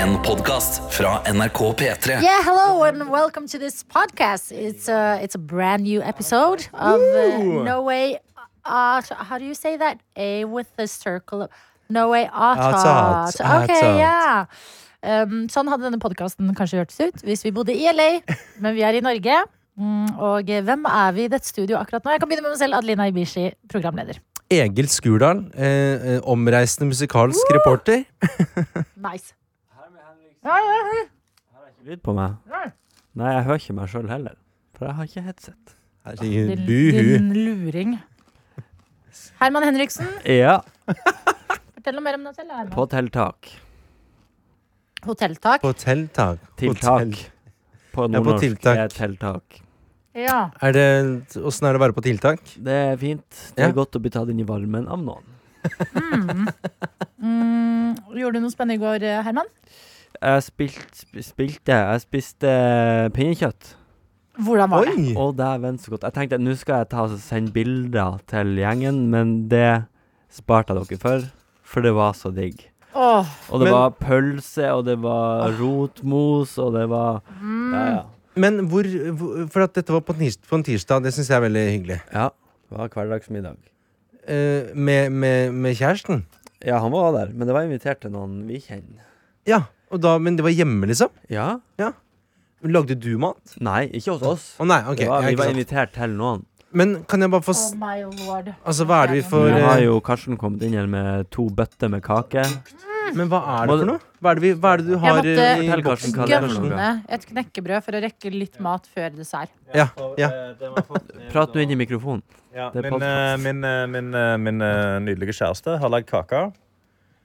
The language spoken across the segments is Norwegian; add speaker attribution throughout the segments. Speaker 1: En podcast fra NRK P3
Speaker 2: Yeah, hello and welcome to this podcast. It's a it's a brand new episode of uh, No Way. Uh, how do you say that? A with the circle. Of, no Way Atat.
Speaker 3: Atat, Atat.
Speaker 2: Okay, yeah. Um, sånn hadde denne podkasten kanskje hørtes ut hvis vi bodde i LA, men vi er i Norge. Mm, og eh, hvem er vi i dette studio akkurat nå? Jeg kan begynne med meg selv, Adelina Ibishi, programleder.
Speaker 3: Egil Skurdal, eh, eh, omreisende musikalsk reporter.
Speaker 2: Nice. Ja, ja, ja.
Speaker 4: lyd på meg?
Speaker 2: Nei.
Speaker 4: Nei, jeg hører ikke meg sjøl heller. For jeg har ikke headset.
Speaker 3: Herregud,
Speaker 2: Din,
Speaker 3: Buhu.
Speaker 2: din luring. Herman Henriksen,
Speaker 4: Ja,
Speaker 2: fortell noe mer om deg selv. Herman.
Speaker 4: på tiltak.
Speaker 2: Hotelltak.
Speaker 3: På tiltak.
Speaker 4: Tiltak.
Speaker 3: Hotell.
Speaker 4: På
Speaker 3: Ja, på
Speaker 4: nordnorsk
Speaker 3: tiltak.
Speaker 4: er tiltak.
Speaker 2: Ja.
Speaker 3: Er det, Åssen er det å være på tiltak?
Speaker 4: Det er fint. Det er
Speaker 3: Ja.
Speaker 4: godt å bli tatt inn i varmen av noen.
Speaker 2: Mm, gjorde du noe spennende i går, eh, Herman?
Speaker 4: Jeg spilt, sp- spilte Jeg spiste eh, pinnekjøtt.
Speaker 2: Hvordan var det?
Speaker 3: Oi!
Speaker 4: Å, dæven, så godt. Jeg tenkte at nå skal jeg ta og sende bilder til gjengen, men det sparte jeg dere for. For det var så digg.
Speaker 2: Åh,
Speaker 4: Og det
Speaker 3: Men- Ah.
Speaker 4: var pølse, og det var rotmos, og det var
Speaker 3: Mm.
Speaker 4: Ja, ja.
Speaker 3: Men hvor, hvor For at dette var på tirs- på en tirsdag, det syns jeg er veldig hyggelig.
Speaker 4: ja det var hverdagsmiddag.
Speaker 3: Eh, med, med, med kjæresten?
Speaker 4: Ja, han var der, men det var invitert til noen vi kjenner.
Speaker 3: Ja. Og da, men det var hjemme, liksom?
Speaker 4: Ja?
Speaker 3: Lagde du mat?
Speaker 4: Nei, ikke hos oss.
Speaker 3: Å nei, ok.
Speaker 4: det var,
Speaker 3: ja,
Speaker 4: vi
Speaker 3: ikke
Speaker 4: var
Speaker 3: sant.
Speaker 4: invitert til noen.
Speaker 3: Men kan jeg bare få
Speaker 2: oh
Speaker 3: s-
Speaker 2: my lord.
Speaker 3: Altså, hva er det vi
Speaker 4: Nå
Speaker 3: får- For,
Speaker 4: har
Speaker 3: eh,
Speaker 4: jo Karsten kommet inn her med to bøtter med kake.
Speaker 3: Men hva er det for
Speaker 4: Må du-
Speaker 3: noe? Hva er det, vi, hva er det du
Speaker 2: Jeg
Speaker 3: har
Speaker 2: måtte
Speaker 3: eh, i
Speaker 4: Fortell,
Speaker 3: boksen?
Speaker 4: Karsten, hva det er for noe.
Speaker 2: Gønne et knekkebrød for å rekke litt mat før dessert.
Speaker 3: Ja, ja.
Speaker 4: Prat nå inn i mikrofonen.
Speaker 5: Ja,
Speaker 4: Det er
Speaker 5: min, eh,
Speaker 4: podcast.
Speaker 5: min, eh, min, eh, min eh, nydelige kjæreste har lagd kake.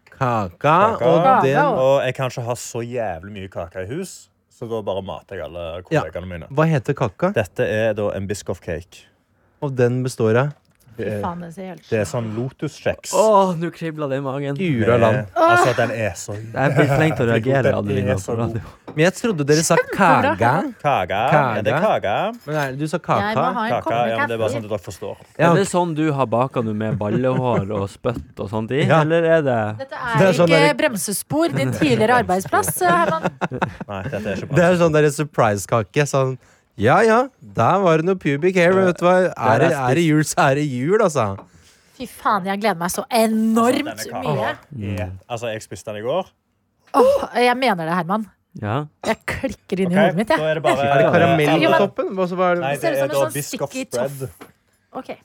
Speaker 3: Kaka,
Speaker 5: Kaka.
Speaker 3: og den
Speaker 2: Kaka.
Speaker 5: Og jeg kan ikke ha så jævlig mye kake i hus, så da bare mater jeg alle kollegaene mine.
Speaker 3: Hva heter kaka?
Speaker 5: Dette er da en biscoff cake.
Speaker 3: Og den består av
Speaker 5: Det
Speaker 2: Fy
Speaker 5: er,
Speaker 2: faen, det ser helt
Speaker 5: Eh, det er sånn lotuskjeks.
Speaker 4: Å, nå kribla det i magen. Jeg
Speaker 3: Ura land.
Speaker 5: Eh, Altså, den er så
Speaker 4: blir flink til å reagere.
Speaker 5: Den er
Speaker 4: Adelina,
Speaker 5: så
Speaker 4: på
Speaker 5: god.
Speaker 4: radio.
Speaker 3: Men jeg trodde dere sa kaga.
Speaker 5: Kake. Ja, det er kake.
Speaker 3: Men er det du sa
Speaker 2: Jeg må
Speaker 3: kaka?
Speaker 2: ha en
Speaker 5: Kake, ja, men Det er
Speaker 2: kopp
Speaker 5: bare sånn
Speaker 2: med
Speaker 5: at dere forstår.
Speaker 3: Ja,
Speaker 4: Er det sånn du har baka nå med ballehår og spytt og sånt i?
Speaker 3: Ja.
Speaker 4: Eller er det
Speaker 2: Dette
Speaker 3: Det
Speaker 2: er
Speaker 3: er sånn
Speaker 2: ikke
Speaker 3: der-
Speaker 2: bremsespor, din tidligere arbeidsplass, eh, Herman.
Speaker 5: Nei, dette er ikke
Speaker 3: Det
Speaker 5: bra.
Speaker 3: er sånn der surprise-kake. Sånn ja ja, der var det noe pubic hair. men Vet du hva? Er det, er det jul, så er det jul, altså.
Speaker 2: Fy faen, jeg gleder meg så enormt
Speaker 5: Denne
Speaker 2: mye.
Speaker 5: kaka er Altså, jeg spiste den i går.
Speaker 2: Åh, jeg mener det, Herman.
Speaker 4: Ja?
Speaker 2: Jeg klikker inn
Speaker 5: Ok,
Speaker 2: i hodet mitt,
Speaker 5: Da
Speaker 2: jeg.
Speaker 5: er det bare
Speaker 3: Er det karamell
Speaker 2: Jo,
Speaker 3: på
Speaker 2: men-
Speaker 3: toppen? Hva så var
Speaker 5: Nei,
Speaker 3: det?
Speaker 2: Ser ut
Speaker 5: det
Speaker 2: som en
Speaker 5: er da
Speaker 2: sånn
Speaker 5: biscoff
Speaker 2: sticky
Speaker 5: spread.
Speaker 2: Ok, jeg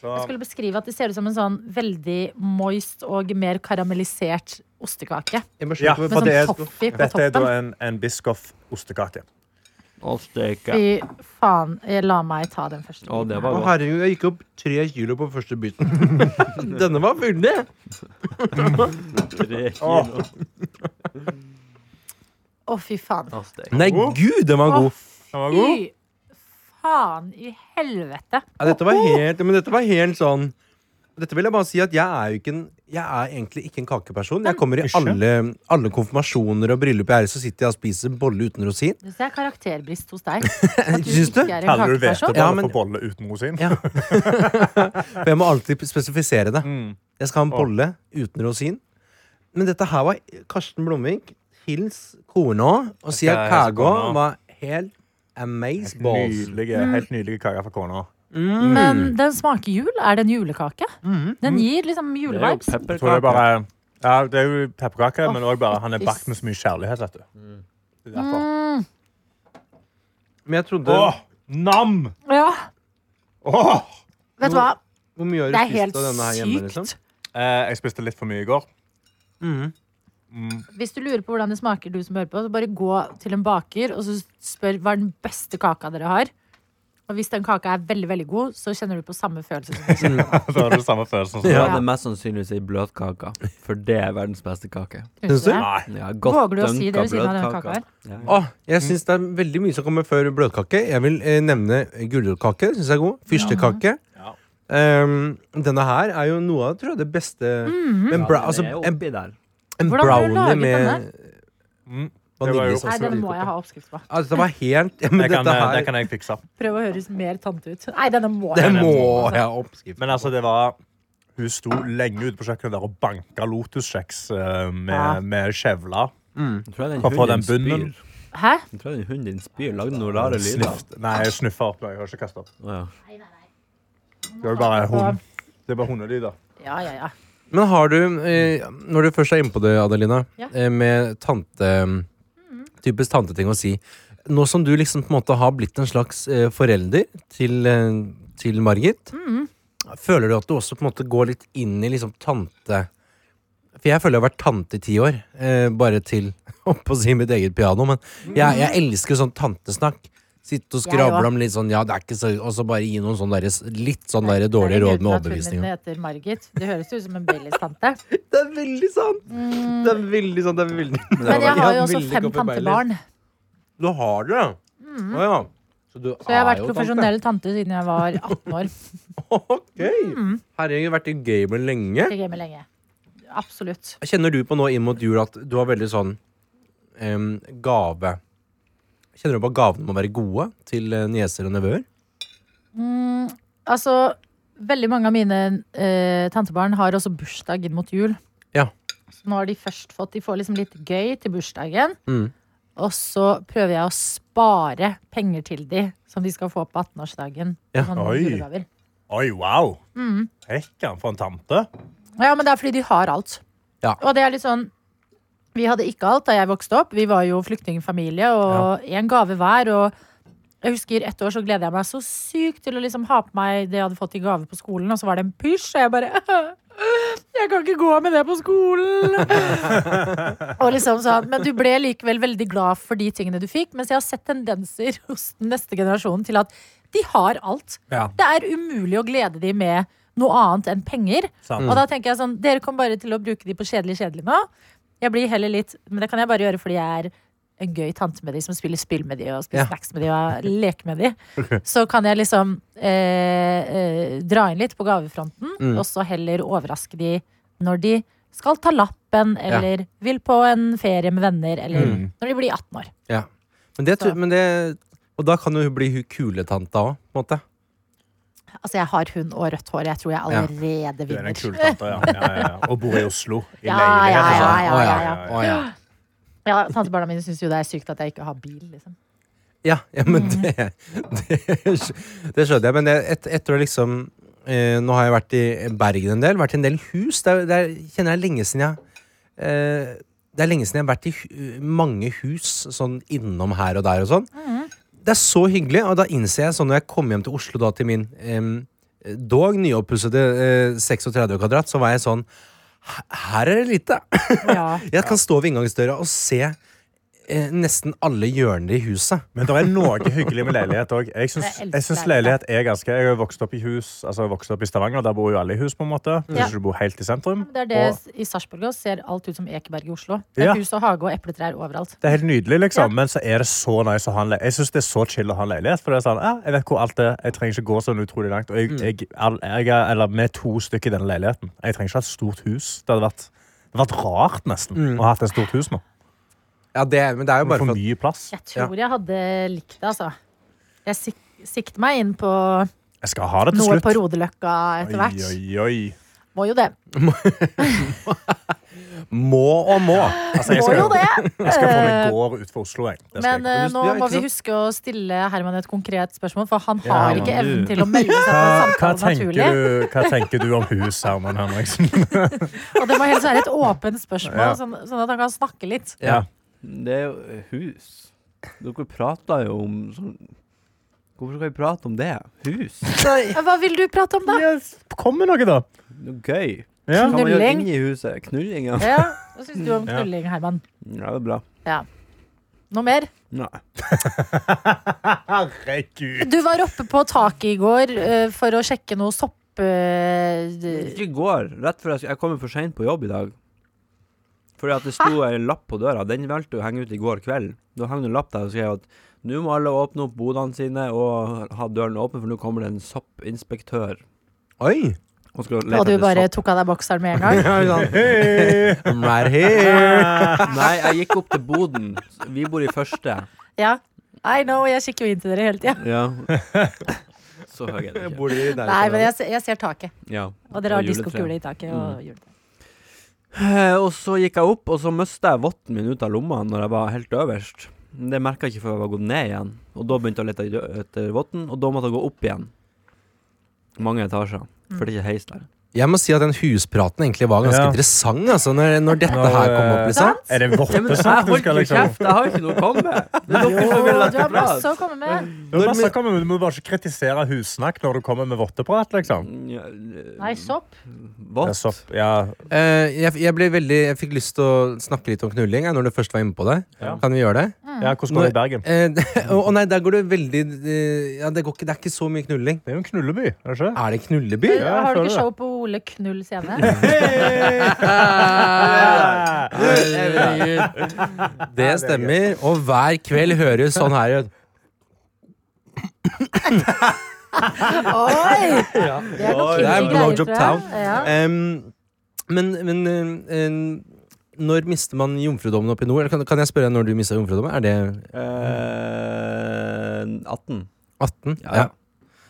Speaker 5: Så
Speaker 2: skulle beskrive at det ser ut som en sånn veldig moist og mer karamellisert ostekake.
Speaker 3: Jeg må
Speaker 5: Ja,
Speaker 3: slutte
Speaker 2: Med
Speaker 3: på det.
Speaker 2: sånn toffee på
Speaker 5: Dette er da
Speaker 2: toppen.
Speaker 5: en, en Biscoff-ostekake.
Speaker 4: Å, steike.
Speaker 2: Fy faen, eh, la meg ta den først.
Speaker 4: Å, det
Speaker 3: Å,
Speaker 4: var godt.
Speaker 3: herregud, jeg gikk opp tre kilo på første biten. Denne var vunnet!
Speaker 4: Tre
Speaker 5: Åh.
Speaker 4: kilo.
Speaker 2: Å, fy faen.
Speaker 4: Å, steike.
Speaker 3: Nei, gud, den var god.
Speaker 5: Den var god.
Speaker 2: Fy faen i helvete.
Speaker 3: Ja, dette var helt, men dette var helt sånn Dette vil jeg bare si at jeg er jo ikke en Jeg er egentlig ikke en kakeperson. Jeg kommer i
Speaker 5: Ikke?
Speaker 3: alle, alle konfirmasjoner og bryllup jeg er i, så sitter jeg og spiser bolle uten rosin.
Speaker 2: Det ser jeg karakterbrist hos deg. At du
Speaker 3: Syns du?
Speaker 2: ikke er en
Speaker 5: Kaller du hvetebolle
Speaker 2: kakeperson.
Speaker 3: Ja, men-
Speaker 5: for bolle uten rosin?
Speaker 3: Ja. For jeg må alltid spesifisere det.
Speaker 5: Mm.
Speaker 3: Jeg skal ha en bolle uten rosin. Men dette her var Karsten Blomvik. Hils kona og sier
Speaker 5: skal hilse
Speaker 3: Kagå
Speaker 5: altså kona.
Speaker 3: var helt amaze balls.
Speaker 5: Nydelige, helt nydelige kaker fra kona.
Speaker 2: Men
Speaker 3: Mm.
Speaker 2: den smaker jul. Er det en julekake? Den gir liksom
Speaker 4: Det er jo
Speaker 2: julevibes.
Speaker 5: Jeg tror det
Speaker 4: pepperkaker.
Speaker 5: er bare ja, det er jo pepperkake, men også bare han er
Speaker 2: fy
Speaker 5: bakt med så mye kjærlighet, vet du. Det er derfor.
Speaker 3: Mm. Men jeg trodde
Speaker 5: Åh, nam!
Speaker 2: Ja,
Speaker 5: Åh!
Speaker 2: vet du hva?
Speaker 3: Hvor mye har
Speaker 2: Det er
Speaker 3: du
Speaker 2: helt
Speaker 3: spist av denne her hjemme? liksom?
Speaker 2: sykt.
Speaker 5: Eh, jeg spiste litt for mye i går.
Speaker 2: Hvis du lurer på hvordan det smaker, du som hører på, så bare gå til en baker og så spør hva er den beste kaka dere har. Og hvis den kaka er veldig veldig god, så kjenner du på samme følelse. som oss.
Speaker 5: Så var det den samme følelsen som
Speaker 4: Ja,
Speaker 2: Ja.
Speaker 4: det er mest sannsynligvis ei bløtkake. For det er verdens beste kake.
Speaker 2: Syns
Speaker 3: du?
Speaker 2: det?
Speaker 5: Nei.
Speaker 4: Ja, godt
Speaker 2: Våger du å si
Speaker 4: dunka
Speaker 2: det ved siden av den
Speaker 4: bløtkaka.
Speaker 2: kaka her?
Speaker 3: Åh, jeg syns det er veldig mye som kommer før bløtkake. Jeg vil eh, nevne gulrotkake. Syns jeg er god. Fyrstekake.
Speaker 5: Ja.
Speaker 3: Ehm, denne her er jo noe av tror jeg, det beste Men bra, altså,
Speaker 4: den er
Speaker 3: en,
Speaker 4: oppi der.
Speaker 3: en
Speaker 2: Mhm. Hvordan har du
Speaker 3: brownie
Speaker 2: laget
Speaker 3: med
Speaker 5: Mm, det var jo-
Speaker 3: vaniljesaus
Speaker 2: Nei, den må
Speaker 3: og
Speaker 2: jeg ha oppskrift på.
Speaker 3: Altså, det var helt ja, Men
Speaker 5: Det kan,
Speaker 3: dette
Speaker 5: eh,
Speaker 3: her
Speaker 5: det kan jeg fikse.
Speaker 2: Prøv å høres mer tante ut. Nei, denne må
Speaker 3: Det
Speaker 2: jeg.
Speaker 3: må jeg ha oppskrift
Speaker 5: Men altså, det var Hun sto lenge ute på kjøkkenet der og banka lotuskjeks eh,
Speaker 2: Ja.
Speaker 5: med, med kjevler.
Speaker 4: Jeg tror jeg den
Speaker 5: Hva får
Speaker 4: hunden
Speaker 5: den bunnen?
Speaker 4: spyr.
Speaker 2: Hæ?
Speaker 4: Jeg tror jeg den hunden din spyr. Lagde noen rare lyder.
Speaker 5: Snift. Nei, jeg snuffa opp noe. Jeg har ikke kasta opp.
Speaker 4: Å, ja.
Speaker 5: Det er jo bare hund. Det er bare hundelyder.
Speaker 2: Ja, ja, ja.
Speaker 3: Men har du, eh, når du først er inne på det, Adelina,
Speaker 2: Ja. Mm.
Speaker 3: eh, med tante typisk tanteting å si Nå som du liksom på en måte har blitt en slags eh, forelder til, eh, til Margit,
Speaker 2: Mm.
Speaker 3: føler du at du også på en måte går litt inn i liksom tante For jeg føler jeg har vært tante i ti år, eh, bare til holdt på å si mitt eget piano, men jeg, jeg elsker sånn tantesnakk. Sitte og
Speaker 2: Mm. Jeg
Speaker 3: skravle
Speaker 2: også.
Speaker 3: om litt sånn, ja, det er ikke så Og så bare gi noen sånn derre s- litt sånn derre
Speaker 2: Det
Speaker 3: dårlige
Speaker 2: er
Speaker 3: råd med
Speaker 2: grunnen til at hunden
Speaker 3: overbevisning.
Speaker 2: min heter Margit. Det høres jo ut som en Baileys-tante.
Speaker 3: Det er veldig sant!
Speaker 2: Mm.
Speaker 3: Det er veldig sant. Det er veldig
Speaker 2: Men jeg har jo også fem tantebarn.
Speaker 3: Du har det, ja? Å ja. Så, du
Speaker 2: Mm. Så jeg har
Speaker 3: er
Speaker 2: vært
Speaker 3: jo sånn
Speaker 2: profesjonell tante siden jeg var 18 år.
Speaker 3: tante. Ok!
Speaker 2: Mm.
Speaker 3: Herregud, vært i gamet lenge.
Speaker 2: Jeg gamer lenge. Absolutt.
Speaker 3: Kjenner du på nå inn mot jul at du har veldig sånn em, gave Kjenner du på at gavene må være gode til eh, nieser og nevøer?
Speaker 2: Altså, veldig mange av mine eh, tantebarn har også bursdag inn mot jul.
Speaker 3: Ja.
Speaker 2: Så nå har de først fått De får liksom litt gøy til bursdagen.
Speaker 3: Mm.
Speaker 2: Og så prøver jeg å spare penger til de som de skal få på 18-årsdagen.
Speaker 3: Ja.
Speaker 2: Sånn
Speaker 5: Oi.
Speaker 2: julegaver.
Speaker 5: Oi, wow.
Speaker 2: Mm.
Speaker 5: Rekker han for en tante?
Speaker 2: Ja, men det er fordi de har alt.
Speaker 3: Ja.
Speaker 2: Og det er litt sånn Vi hadde ikke alt da jeg vokste opp. Vi var jo flyktningfamilie, og én gave hver. Og jeg husker ett år så gleda jeg meg så sykt til å liksom ha på meg det jeg hadde fått i gave på skolen, og så var det en pysj, og jeg bare Jeg kan ikke gå med det på skolen! og liksom sånn, Men du ble likevel veldig glad for de tingene du fikk, mens jeg har sett tendenser hos den neste generasjonen til at de har alt.
Speaker 3: Ja.
Speaker 2: Det er umulig å glede de med noe annet enn penger.
Speaker 5: Sant.
Speaker 2: Og da tenker jeg sånn, dere kommer bare til å bruke de på kjedelig kjedelig nå. Jeg blir heller litt, men det kan jeg bare gjøre fordi jeg er en gøy tante med de som spiller spill med de og spiser
Speaker 3: Ja.
Speaker 2: snacks med de og leker med de. Så kan jeg liksom eh, eh, dra inn litt på gavefronten,
Speaker 3: Mm.
Speaker 2: og så heller overraske de når de skal ta lappen, eller vil på en ferie med venner, eller
Speaker 3: Mm.
Speaker 2: når de blir 18 år.
Speaker 3: ja. Men, det,
Speaker 2: Så.
Speaker 3: men det Og da kan jo hun bli hun kuletanta òg, på en måte.
Speaker 2: Altså, jeg har hund og rødt hår. Jeg tror jeg allerede
Speaker 5: Du er en
Speaker 2: vinner.
Speaker 5: kul tante, ja. ja, ja, ja. Og bor i Oslo. I
Speaker 2: Ja,
Speaker 5: leilighet,
Speaker 2: ja, ja,
Speaker 5: altså.
Speaker 2: ja, ja, ja.
Speaker 3: Å, ja.
Speaker 2: Ja, Tantebarna mine syns jo det er sykt at jeg ikke har bil, liksom.
Speaker 3: Ja, ja men det, det, det skjønner jeg. Men jeg- et, etter å liksom eh, Nå har jeg vært i Bergen en del. Vært i en del hus. Det, er, det er, kjenner jeg er lenge siden jeg eh, Det er lenge siden jeg har vært i hu- mange hus sånn innom her og der og sånn. Det er så hyggelig, og da innser jeg sånn når jeg kom hjem til Oslo da til min em, dog nyoppussede eh, 36 kvadrat, så var jeg sånn "Her- Her er det lite.
Speaker 2: Ja.
Speaker 3: Jeg kan stå ved inngangsdøra og se eh, nesten alle hjørner i huset.
Speaker 5: Men det er noe hyggelig med leilighet òg. Jeg syns,
Speaker 2: Jeg elsker
Speaker 5: jeg syns leilighet er ganske Jeg har vokst opp i hus Altså jeg har vokst opp i Stavanger, der bor jo alle i hus, på en måte. Hvis
Speaker 2: Mm. Ja.
Speaker 5: ikke du bor helt i sentrum.
Speaker 2: Det er det
Speaker 5: Og
Speaker 2: i Sarpsborg også. Ser alt ut som Ekeberg i Oslo. Det er
Speaker 5: Ja.
Speaker 2: hus og hage og epletrær overalt.
Speaker 5: det er helt nydelig, liksom.
Speaker 2: Ja.
Speaker 5: Men så er det så nice å ha en leilighet. Jeg syns det er så chill å ha en leilighet. For det er sånn, ja, jeg vet hvor alt er. Jeg trenger ikke gå sånn utrolig langt. Og jeg,
Speaker 2: Mm.
Speaker 5: jeg, all- jeg er, eller vi er to stykker i denne leiligheten. Jeg trenger ikke ha et stort hus. Det hadde vært, det hadde vært rart, nesten,
Speaker 2: Mm.
Speaker 5: å ha hatt et stort hus nå.
Speaker 3: Ja, det, men det er jo bare
Speaker 5: For
Speaker 3: for at
Speaker 5: mye plass.
Speaker 2: Jeg tror jeg hadde likt det, altså. Jeg sik sikter meg inn på
Speaker 5: Jeg skal ha det til
Speaker 2: noe
Speaker 5: slutt.
Speaker 2: på Rodeløkka etter
Speaker 5: Oi,
Speaker 2: hvert.
Speaker 5: oi, oi.
Speaker 2: Må jo det.
Speaker 3: må og må.
Speaker 5: Altså, jeg
Speaker 2: Må jo
Speaker 5: skal,
Speaker 2: det!
Speaker 5: jeg skal få meg gård utenfor Oslo, jeg. Det skal
Speaker 2: Men
Speaker 5: jeg.
Speaker 2: eh, nå
Speaker 3: Ja, ikke
Speaker 2: må vi
Speaker 3: sant?
Speaker 2: huske å stille Herman et konkret spørmål, for han
Speaker 5: Ja,
Speaker 2: har
Speaker 5: Herman,
Speaker 2: ikke
Speaker 4: du-
Speaker 2: evnen til å melde seg på
Speaker 5: Hva,
Speaker 2: en
Speaker 5: hva,
Speaker 2: eh, samtale
Speaker 5: tenker
Speaker 2: naturlig.
Speaker 5: du, hva tenker du om hus, Herman Henriksen?
Speaker 2: Og det må helst være et åpent spørsmål,
Speaker 5: Ja.
Speaker 2: sånn, sånn at han kan snakke litt.
Speaker 3: Ja.
Speaker 4: Det er jo eh, hus. Dere prata jo om sånn Hvorfor skal vi prate om det? Hus.
Speaker 2: Ja, Hva vil du prate om, da?
Speaker 5: Kom med noe, da.
Speaker 4: Noe gøy.
Speaker 5: Ja.
Speaker 4: Kan man gjøre
Speaker 2: Knulling.
Speaker 4: inni huset? Knulling, ja.
Speaker 2: Ja, Hva syns du om
Speaker 5: Ja.
Speaker 2: knulling, Herman?
Speaker 4: Ja, det er bra.
Speaker 2: Noe mer?
Speaker 4: Nei.
Speaker 5: Herregud.
Speaker 2: Du var oppe på taket i går eh, for å sjekke noe sopp... eh, d-
Speaker 4: Ikke i går. Rett før jeg skulle Jeg kom jo for seint på jobb i dag. Fordi at det sto en lapp på døra. Den valgte jeg å henge ut i går kveld. Da hang det en lapp der og skrev at nå må alle åpne opp bodene sine og ha dørene åpne, for nå kommer det en soppinspektør.
Speaker 3: Oi!
Speaker 4: Og, skal lete
Speaker 2: og du
Speaker 4: etter
Speaker 2: bare
Speaker 4: sopp.
Speaker 2: tok av deg bokseren med en gang?
Speaker 3: I'm right here.
Speaker 4: Nei, jeg gikk opp til boden. Vi bor i første.
Speaker 2: Ja. I know, jeg kikker jo inn til dere hele tida.
Speaker 4: Ja. Så høy er det ikke.
Speaker 3: Bor de i
Speaker 2: Nei,
Speaker 3: nærheten
Speaker 2: men
Speaker 3: av
Speaker 2: jeg, se- jeg ser taket.
Speaker 4: Ja.
Speaker 2: Og dere har
Speaker 4: juletre.
Speaker 2: diskokule i taket. Og juletre.
Speaker 4: Eh, Og så gikk jeg opp, og så mista jeg votten min ut av lomma når jeg var helt øverst. Men Det merka jeg ikke før jeg var gått ned igjen. Og da begynte jeg å lete i- etter votten, og da måtte jeg gå opp igjen. Mange etasjer. For det er ikke heis der.
Speaker 3: Jeg må si at den huspraten egentlig var ganske
Speaker 5: Ja.
Speaker 3: interessant altså, når, når dette
Speaker 5: Når,
Speaker 3: her kom opp.
Speaker 5: eh,
Speaker 3: liksom
Speaker 5: Er det
Speaker 4: Ja, men jeg
Speaker 5: vortesnakk du
Speaker 4: holdt
Speaker 5: skal
Speaker 4: jo
Speaker 5: liksom
Speaker 4: kjeft, jeg har ikke noe å komme med. Det er dere som
Speaker 2: Å,
Speaker 4: vil at
Speaker 2: du har
Speaker 4: jeg
Speaker 2: masse
Speaker 4: prater.
Speaker 2: å komme med.
Speaker 5: Du har masse å komme med, du må bare ikke kritisere hussnakk når du kommer med votteprat, liksom.
Speaker 4: Ja,
Speaker 2: Nei, sopp.
Speaker 5: Det
Speaker 4: Vått.
Speaker 5: er sopp, ja.
Speaker 3: Eh, jeg, jeg, ble veldig, jeg fikk lyst til å snakke litt om knulling jeg, når du først var inne på det.
Speaker 5: Ja.
Speaker 3: Kan vi gjøre det?
Speaker 5: ja, hvordan går det i Bergen?
Speaker 3: Eh, og, og nei, der går det veldig eh, ja, det, går ikke, det er ikke så mye knulling.
Speaker 5: Det er jo en knulleby, er det ikke det?
Speaker 3: Er det knulleby?
Speaker 5: Ja, jeg
Speaker 2: Har du ikke
Speaker 5: føler det.
Speaker 2: show på Ole Knull scene?
Speaker 3: Herregud. Det stemmer. Og hver kveld høres sånn her ut.
Speaker 2: Oi! Det er noe kinky
Speaker 3: Det er
Speaker 2: greier,
Speaker 3: blowjob
Speaker 2: tror
Speaker 3: town.
Speaker 2: jeg. Ja.
Speaker 3: Em, men men eh, em, når mister man jomfrudommen oppe i nord? Eller Kan, kan jeg spørre deg når du mista jomfrudommen? Er det
Speaker 4: Eh, 18.
Speaker 3: 18?
Speaker 4: Ja, ja.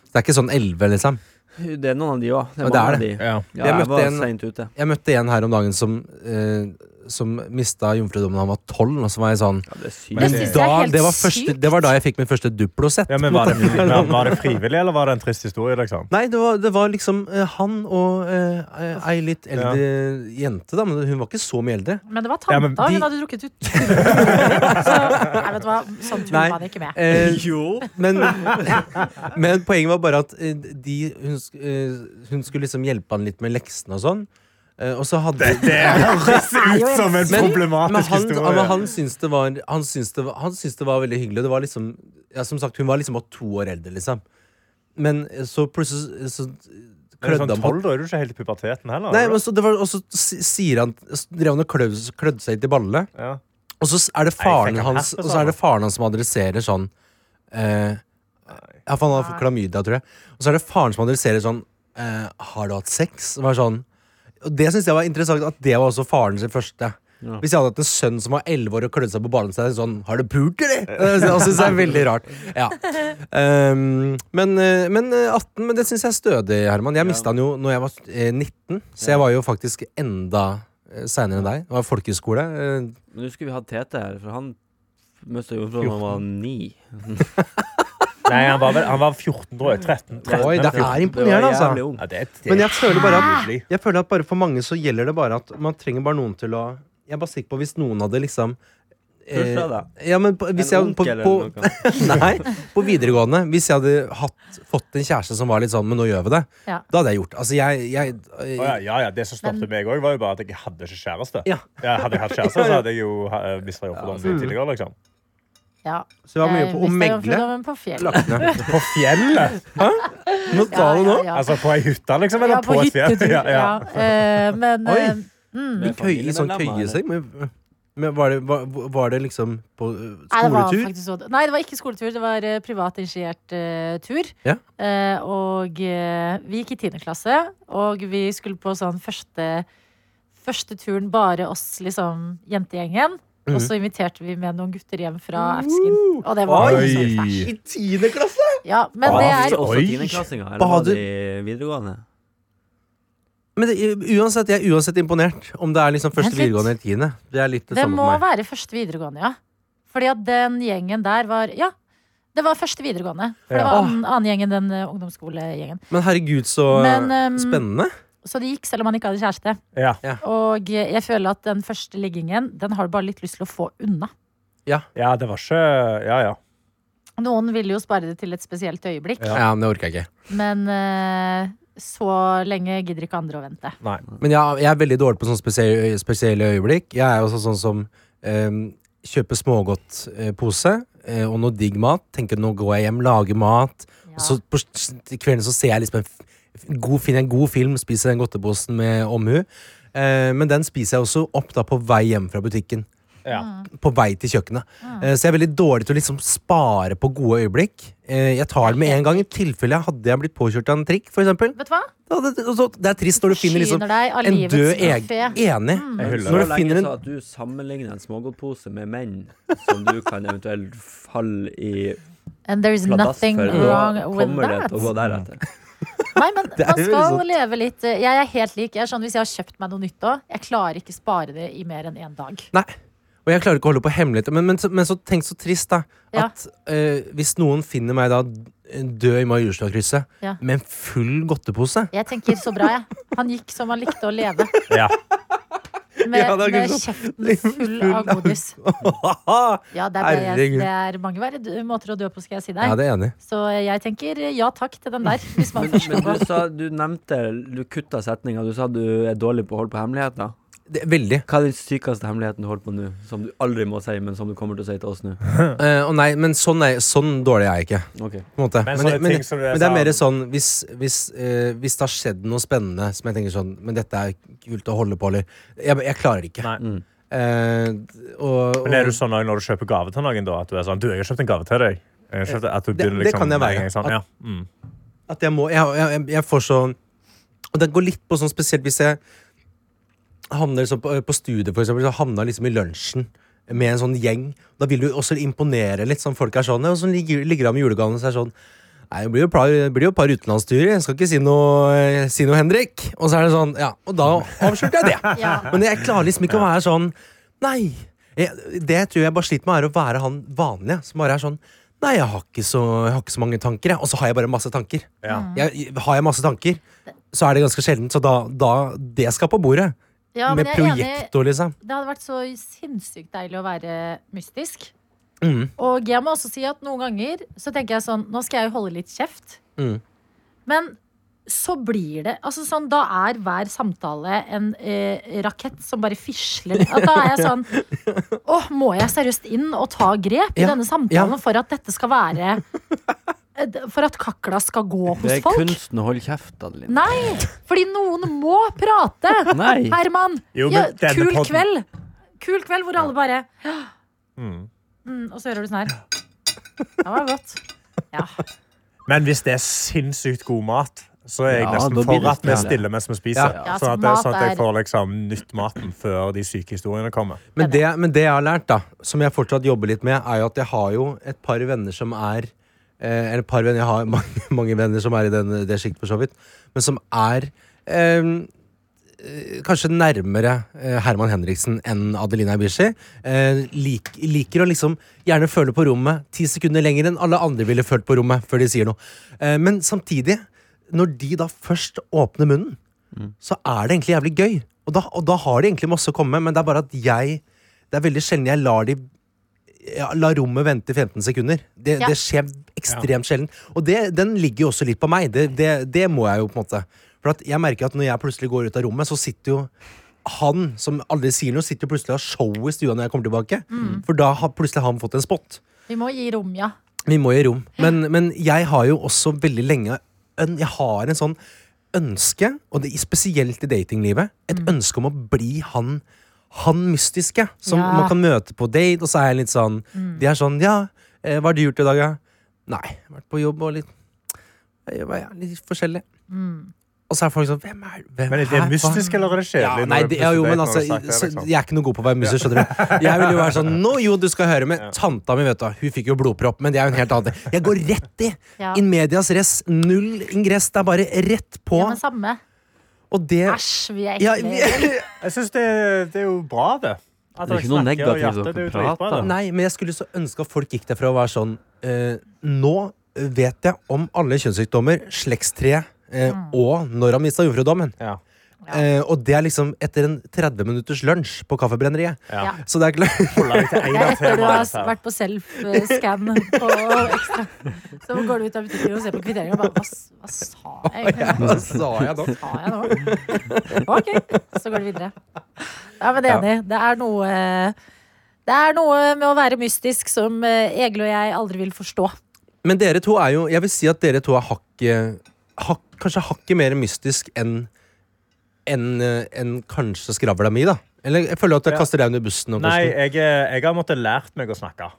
Speaker 3: Det er ikke sånn 11, liksom?
Speaker 4: Det er noen av de òg. Det
Speaker 3: Ja,
Speaker 4: er
Speaker 3: det er
Speaker 4: mange av de.
Speaker 5: Ja.
Speaker 4: Ja,
Speaker 3: Jeg
Speaker 4: jeg,
Speaker 3: møtte
Speaker 4: var
Speaker 3: en-
Speaker 4: seint ute.
Speaker 3: Jeg møtte en her om dagen som, eh, som mista jomfrudommen da han var 12. Og så var jeg sånn
Speaker 4: Ja, det er sykt.
Speaker 5: Men
Speaker 2: Det synes jeg
Speaker 3: da,
Speaker 2: er helt
Speaker 3: det, var første,
Speaker 2: sykt.
Speaker 3: det var da jeg fikk min første Duplo-sett.
Speaker 5: Ja, men var det, frivillig, var det frivillig, eller var det en trist historie, liksom?
Speaker 3: Nei, det var, det var liksom eh, han og eh, ei litt eldre jente, da. Men hun var ikke så mye eldre.
Speaker 2: Men det var
Speaker 5: Ja,
Speaker 2: tanta.
Speaker 5: men
Speaker 3: de-
Speaker 2: Hun hadde drukket ut Så nei, vet du hva, sånn tur
Speaker 3: Nei.
Speaker 2: var det ikke med.
Speaker 3: Eh,
Speaker 4: Jo.
Speaker 3: men, men poenget var bare at eh, de, hun, sk- eh, hun skulle liksom hjelpe han litt med leksene og sånn. Eh, og så hadde
Speaker 5: Det høres ut som en
Speaker 3: Men- men
Speaker 5: problematisk
Speaker 3: han, ja, men
Speaker 5: historie.
Speaker 3: han, syntes det var, han, syntes det, var- han syntes det var veldig hyggelig. Det var liksom, ja, som sagt, hun var liksom bare to år eldre, liksom. Men eh, så plutselig så
Speaker 5: Men
Speaker 3: klødde
Speaker 5: sånn
Speaker 3: han på
Speaker 5: 12, da er du ikke helt i puberteten heller.
Speaker 3: Nei,
Speaker 5: er du
Speaker 3: men så, det var, Og så si- sier han så drev han og klødde, klødde seg til ballene.
Speaker 5: det? ja.
Speaker 3: Og så s- er det
Speaker 5: Nei, jeg
Speaker 3: faren
Speaker 5: fikk han
Speaker 3: hans
Speaker 5: herpes
Speaker 3: Og så er
Speaker 5: av
Speaker 3: det faren hans som adresserer sånn eh, Ja, for han har fått klamydia, tror jeg. Og så er det faren som adresserer sånn eh, Har du hatt sex? Og, sånn. og det syns jeg var interessant at det var også faren sin første.
Speaker 4: Ja.
Speaker 3: Hvis jeg hadde hatt en sønn som var 11 år og klødde seg på ballen, så er det sånn Har du pult, eller? Det syns jeg er veldig rart. Ja. Um, men, eh, men eh, 18 Men det syns jeg er stødig, Herman. Jeg mista den jo når jeg var eh, 19, så jeg var jo faktisk enda seinere enn deg. Det var folkehøyskole. eh,
Speaker 4: Men nå skulle vi hatt Tete her, for han mista jomfruen da han var ni.
Speaker 5: Nei, han var, vel, han var 14, tror jeg. 13. 13
Speaker 3: Oi, det
Speaker 5: eller 14.
Speaker 3: er imponerende,
Speaker 4: Det var jævlig
Speaker 3: altså.
Speaker 4: ung.
Speaker 5: Ja, det er det
Speaker 3: Men jeg føler bare at
Speaker 5: nydelig.
Speaker 3: Jeg føler at bare for mange så gjelder det bare at man trenger bare noen til å Jeg er bare sikker på hvis noen hadde liksom eh,
Speaker 4: Pusha deg.
Speaker 3: ja, men på, hvis
Speaker 4: En
Speaker 3: jeg, på,
Speaker 4: onkel eller
Speaker 3: på,
Speaker 4: noe.
Speaker 3: nei, på videregående Hvis jeg hadde hatt, fått en kjæreste som var litt sånn, men nå gjør vi det,
Speaker 2: Ja.
Speaker 3: da hadde jeg gjort Altså, jeg, jeg
Speaker 5: Å ja, ja, ja, Det som stoppet meg òg, var jo bare at jeg hadde ikke kjæreste.
Speaker 3: Ja.
Speaker 5: hadde jeg hatt kjæreste, så hadde jeg jo eh, mista jobben
Speaker 3: altså.
Speaker 5: min tidligere. liksom
Speaker 2: Ja.
Speaker 3: Så det var mye
Speaker 2: Eh,
Speaker 3: på å
Speaker 2: hvis det er
Speaker 3: megle.
Speaker 2: jomfrudommen På fjell.
Speaker 3: Lagt ned.
Speaker 5: På fjellet!
Speaker 3: Nå
Speaker 2: Ja,
Speaker 3: ta det nå.
Speaker 2: ja, ja.
Speaker 5: Altså på ei hytte, liksom? Eller
Speaker 2: Ja,
Speaker 5: på, et fjell?
Speaker 2: hyttetur,
Speaker 5: Ja, ja.
Speaker 2: ja. Eh, Men
Speaker 3: Oi.
Speaker 2: eh,
Speaker 4: Med
Speaker 3: Køye, i sånn
Speaker 4: familiemedlemmer, eller?
Speaker 3: køyeseng. Men, men var, det, var, var det liksom på eh,
Speaker 2: Nei, det var
Speaker 3: skoletur?
Speaker 2: faktisk sånn- Nei, det var ikke skoletur. Det var eh, privat initiert eh, tur.
Speaker 3: Ja.
Speaker 2: Eh, og eh, vi gikk i tiende klasse, og vi skulle på sånn første Første turen bare oss, liksom, jentegjengen. Og
Speaker 3: Mhm.
Speaker 2: så inviterte vi med noen gutter hjem fra Efskin. Og det var
Speaker 5: Oi.
Speaker 2: sånn fæsj.
Speaker 3: I tiende klasse!
Speaker 2: Ja, men
Speaker 5: Oi.
Speaker 2: det
Speaker 4: Var
Speaker 2: er
Speaker 4: det også
Speaker 5: Oi.
Speaker 4: tiendeklassinger, eller var
Speaker 3: Bader-
Speaker 4: det i videregående?
Speaker 3: Men det, uansett, jeg er uansett imponert. Om det er liksom første
Speaker 2: Vent litt.
Speaker 3: videregående eller tiende. Det er litt det,
Speaker 2: Det
Speaker 3: samme
Speaker 2: må
Speaker 3: for meg.
Speaker 2: være første videregående, ja. Fordi at den gjengen der var Ja, det var første videregående. For det
Speaker 5: Ja.
Speaker 2: var annen, annen gjeng enn den eh, ungdomsskolegjengen.
Speaker 3: Men herregud, så
Speaker 2: Men, ehm,
Speaker 3: spennende.
Speaker 2: Så det gikk selv om man ikke hadde kjæreste.
Speaker 5: Ja.
Speaker 2: Og eh, jeg føler at den første liggingen, den har du bare litt lyst til å få unna.
Speaker 5: ja, det var ikke Ja, ja.
Speaker 2: Noen ville jo spare det til et spesielt øyeblikk,
Speaker 5: Ja.
Speaker 3: Ja. men det orker jeg ikke.
Speaker 2: men eh, så lenge gidder ikke andre å vente.
Speaker 5: Nei.
Speaker 3: Mm. Men jeg, jeg er veldig dårlig på sånne spesielle, spesielle øyeblikk. Jeg er også sånn som ehm, kjøper smågodtpose eh, og noe digg mat. Tenker nå går jeg hjem, lager mat.
Speaker 2: Ja.
Speaker 3: Og så på s- til kvelden så ser jeg liksom en f- god, finner jeg en god film, spiser den godteposen med omhu. Eh, men den spiser jeg også opp da på vei hjem fra butikken.
Speaker 5: Ja.
Speaker 3: på vei til kjøkkenet. Eh, Så jeg er veldig dårlig til å liksom spare på gode øyeblikk. Eh, Jeg tar det med en gang i tilfelle jeg hadde jeg blitt påkjørt av en trikk. For eksempel.
Speaker 2: Vet du hva?
Speaker 3: Da hadde- og så- Det er trist når du finner liksom
Speaker 2: Forsyner deg av
Speaker 3: en
Speaker 2: livets Mm.
Speaker 3: død eg
Speaker 2: buffet.
Speaker 3: enig.
Speaker 5: Jeg
Speaker 4: Men
Speaker 5: hyller
Speaker 3: Når du
Speaker 4: så
Speaker 5: det.
Speaker 3: finner
Speaker 4: lenge
Speaker 3: en-
Speaker 4: så at du sammenligner en smågodtpose med menn som du kan eventuelt falle i
Speaker 2: And there is
Speaker 4: pladask
Speaker 2: nothing
Speaker 4: for,
Speaker 2: wrong
Speaker 4: da
Speaker 2: with
Speaker 4: kommer det
Speaker 2: that.
Speaker 4: til å gå deretter.
Speaker 2: Nei, men
Speaker 3: er
Speaker 2: man
Speaker 3: jo
Speaker 2: skal
Speaker 3: sant.
Speaker 2: leve litt eh, Jeg er helt lik. Jeg er sånn, Hvis jeg har kjøpt meg noe nytt òg, jeg klarer ikke spare det i mer enn én dag.
Speaker 3: Nei. Og jeg klarer ikke å holde på hemmeligheter. Men, men, så- men så tenk så trist, da.
Speaker 2: Ja.
Speaker 3: At eh, hvis noen finner meg da død i Majorstua-krysset
Speaker 2: Ja.
Speaker 3: med en full godtepose
Speaker 2: Jeg tenker så bra, jeg. Han gikk som han likte å leve.
Speaker 5: Ja.
Speaker 2: Med,
Speaker 3: Ja, det er sånn.
Speaker 2: med
Speaker 3: ikke
Speaker 2: kjeften full av godis. Ja, det er, det
Speaker 3: Herregud.
Speaker 2: jeg- det er mange verre d- måter å dø på, skal jeg si deg.
Speaker 3: Ja, det er jeg enig i.
Speaker 2: Så jeg tenker eh, ja takk til den der, hvis man først
Speaker 4: Men
Speaker 2: går
Speaker 4: du
Speaker 2: på.
Speaker 4: sa Du nevnte Du kutta setninga. Du sa du er dårlig på å holde på hemmeligheter.
Speaker 3: Det er Veldig.
Speaker 4: Hva er den sykeste hemmeligheten du holder på nå, som du aldri må si, men som du kommer til å si til oss nå?
Speaker 3: Eh, og nei, men sånn, er, sånn dårlig er jeg ikke. På
Speaker 4: Ok.
Speaker 3: en måte.
Speaker 5: Men
Speaker 3: Men,
Speaker 5: sånne
Speaker 3: men, men,
Speaker 5: ting som du
Speaker 3: det
Speaker 5: sa-
Speaker 3: er mer sånn hvis, hvis, eh, hvis det har skjedd noe spennende som jeg tenker sånn Men dette er kult å holde på, eller Jeg, jeg klarer det ikke.
Speaker 5: Nei.
Speaker 4: Mm.
Speaker 3: Eh, og, og,
Speaker 5: Men er du sånn også når du kjøper gave til noen, da? At du er sånn Du, jeg har kjøpt en gave til deg. Jeg har kjøpt, at du
Speaker 3: Det-
Speaker 5: begynner
Speaker 3: det
Speaker 5: liksom
Speaker 3: kan jeg
Speaker 5: med
Speaker 3: være.
Speaker 5: en gang Sånn, ja. mm.
Speaker 3: At jeg må Jeg, jeg, jeg får sånn Og det går litt på sånn spesielt hvis jeg havner sånn på, på studiet, for eksempel, så havner jeg liksom i lunsjen med en sånn gjeng. Da vil du også imponere litt, sånn folk er sånn. Og så ligger, ligger han med julegavene og så er det sånn Nei, det blir jo et par, det blir jo et par utenlandsturer. Jeg skal ikke si noe, eh, si noe, Henrik. Og så er det sånn, ja, og da avslørte jeg det.
Speaker 2: Ja.
Speaker 3: Men jeg klarer liksom ikke å være sånn Nei. Jeg, det jeg tror jeg bare sliter med, er å være han vanlige som bare er sånn Nei, jeg har ikke så, jeg har ikke så mange tanker, jeg. Og så har jeg bare masse tanker.
Speaker 5: Ja.
Speaker 3: Jeg, har jeg masse tanker, så er det ganske sjeldent. Så da, da Det skal på bordet.
Speaker 2: Ja, men
Speaker 3: med
Speaker 2: jeg er enig.
Speaker 3: projektor, liksom.
Speaker 2: Det hadde vært så sinnssykt deilig å være mystisk.
Speaker 3: Mm.
Speaker 2: Og jeg må også si at noen ganger så tenker jeg sånn Nå skal jeg jo holde litt kjeft.
Speaker 3: Mm.
Speaker 2: Men så blir det altså sånn, Da er hver samtale en eh, rakett som bare fisler. At da er jeg sånn Å, må jeg seriøst inn og ta grep i
Speaker 3: Ja,
Speaker 2: denne
Speaker 3: ja.
Speaker 2: samtalen for at dette skal være eh, For at kakla skal gå
Speaker 4: Det
Speaker 2: hos
Speaker 4: er
Speaker 2: folk?
Speaker 4: kunsten å holde kjeft, Adeline.
Speaker 2: Nei! Fordi noen må prate!
Speaker 4: Nei!
Speaker 2: Herman!
Speaker 5: Jo,
Speaker 2: ja,
Speaker 5: men denne
Speaker 2: kul
Speaker 5: podden-
Speaker 2: kveld! Kul kveld hvor alle bare
Speaker 5: Mm.
Speaker 2: mm, Og så hører du sånn her. Det var godt. Ja.
Speaker 5: Men hvis det er sinnssykt god mat, så er jeg
Speaker 4: Ja, da
Speaker 5: nesten
Speaker 4: blir
Speaker 5: for
Speaker 4: det
Speaker 5: at vi
Speaker 4: stille.
Speaker 5: stiller mens vi spiser.
Speaker 2: Ja,
Speaker 5: Sånn,
Speaker 2: så
Speaker 5: at det, sånn at
Speaker 2: mat er-
Speaker 5: jeg får liksom nytt maten før de syke historiene kommer.
Speaker 3: Men det, men det jeg har lært, da, som jeg fortsatt jobber litt med, er jo at jeg har jo et par venner som er eh, Eller et par venner, jeg har mange, mange venner som er i den, det sjiktet, for så vidt. Men som er eh, eh, kanskje nærmere eh, Herman Henriksen enn Adelina Ibishi. Eh, lik, liker å liksom gjerne føle på rommet ti sekunder lenger enn alle andre ville følt på rommet før de sier noe. Eh, men samtidig, når de da først åpner munnen, så er det egentlig jævlig gøy. Og da, og da har de egentlig masse å komme med, men det er bare at jeg Det er veldig sjelden jeg lar de ja, La rommet vente i 15 sekunder. Det,
Speaker 2: Ja.
Speaker 3: det skjer ekstremt sjelden. Og det, den ligger jo også litt på meg. Det, det, det må jeg jo på en måte For at jeg merker at når jeg plutselig går ut av rommet, så sitter jo han som aldri sier noe, sitter jo plutselig og har show i stua når jeg kommer tilbake. For da har plutselig han fått en spot.
Speaker 2: Vi må gi rom, ja.
Speaker 3: Vi må i rom. Men, men jeg har jo også veldig lenge øn- Jeg har en sånn ønske, og det, spesielt i datinglivet, et ønske om å bli han han mystiske. Som
Speaker 2: Ja.
Speaker 3: man kan møte på date, og så er jeg litt sånn De er sånn Ja, eh, hva har du gjort i dag, da? Nei, jeg har vært på jobb og litt jeg jobber, ja, Litt forskjellig. Og så er folk sånn Hvem er hvem
Speaker 5: Men er det
Speaker 3: er- hva-
Speaker 5: mystisk, eller er det
Speaker 3: ja,
Speaker 5: kjedelig?
Speaker 3: nei,
Speaker 5: når du
Speaker 3: det, ja, jo,
Speaker 5: plutselig
Speaker 3: men
Speaker 5: vet når
Speaker 3: altså,
Speaker 5: du har sagt det,
Speaker 3: så,
Speaker 5: liksom?
Speaker 3: jeg er ikke noe god på å være muser, skjønner du. Jeg vil jo være sånn Nå, jo, du skal høre med tanta mi, vet du. Hun fikk jo blodpropp, men det er jo en helt annen ting. Jeg går rett i.
Speaker 2: Ja.
Speaker 3: In medias res. Null ingress. Det er bare rett på.
Speaker 2: ja men samme.
Speaker 3: Og det
Speaker 2: Æsj, vi er
Speaker 3: ja,
Speaker 2: ekle.
Speaker 3: vi,
Speaker 5: Jeg syns det, det er jo bra, det. At
Speaker 4: Det er
Speaker 5: dere
Speaker 4: ikke noe
Speaker 5: snakker og
Speaker 4: negativt
Speaker 5: hjertet,
Speaker 4: å
Speaker 5: det er jo
Speaker 4: prate
Speaker 5: dritbra, det.
Speaker 4: om.
Speaker 3: Nei, men jeg skulle så ønske at folk gikk derfra og var sånn eh, Nå vet jeg om alle kjønnssykdommer, slektstreet eh,
Speaker 2: Mm.
Speaker 3: og når han mista jomfrudommen.
Speaker 5: Ja.
Speaker 3: Eh, og det er liksom etter en 30 minutters lunsj på Kaffebrenneriet.
Speaker 5: Ja.
Speaker 2: Ja.
Speaker 3: Så det er klart
Speaker 5: Holder deg til
Speaker 2: Det
Speaker 5: en
Speaker 2: er
Speaker 5: av
Speaker 2: etter du har
Speaker 5: temaene her.
Speaker 2: vært på self-scan på ekstra. Så går du ut av butikken og ser på kvitteringen og bare Hva, s- hva sa jeg egentlig?
Speaker 3: Hva sa jeg da?
Speaker 2: Hva sa jeg nå? OK, så går det videre. Ja, men enig. Det er noe Det er noe med å være mystisk som eh, Egil og jeg aldri vil forstå.
Speaker 3: Men dere to er jo Jeg vil si at dere to er hakket hak, Kanskje hakket mer mystisk enn enn eh, enn kanskje skravla mi, da. Eller jeg føler at jeg
Speaker 5: Ja.
Speaker 3: kaster deg under bussen. nå,
Speaker 5: Nei,
Speaker 3: Karsten.
Speaker 5: jeg, er- jeg har måttet lært meg å snakke.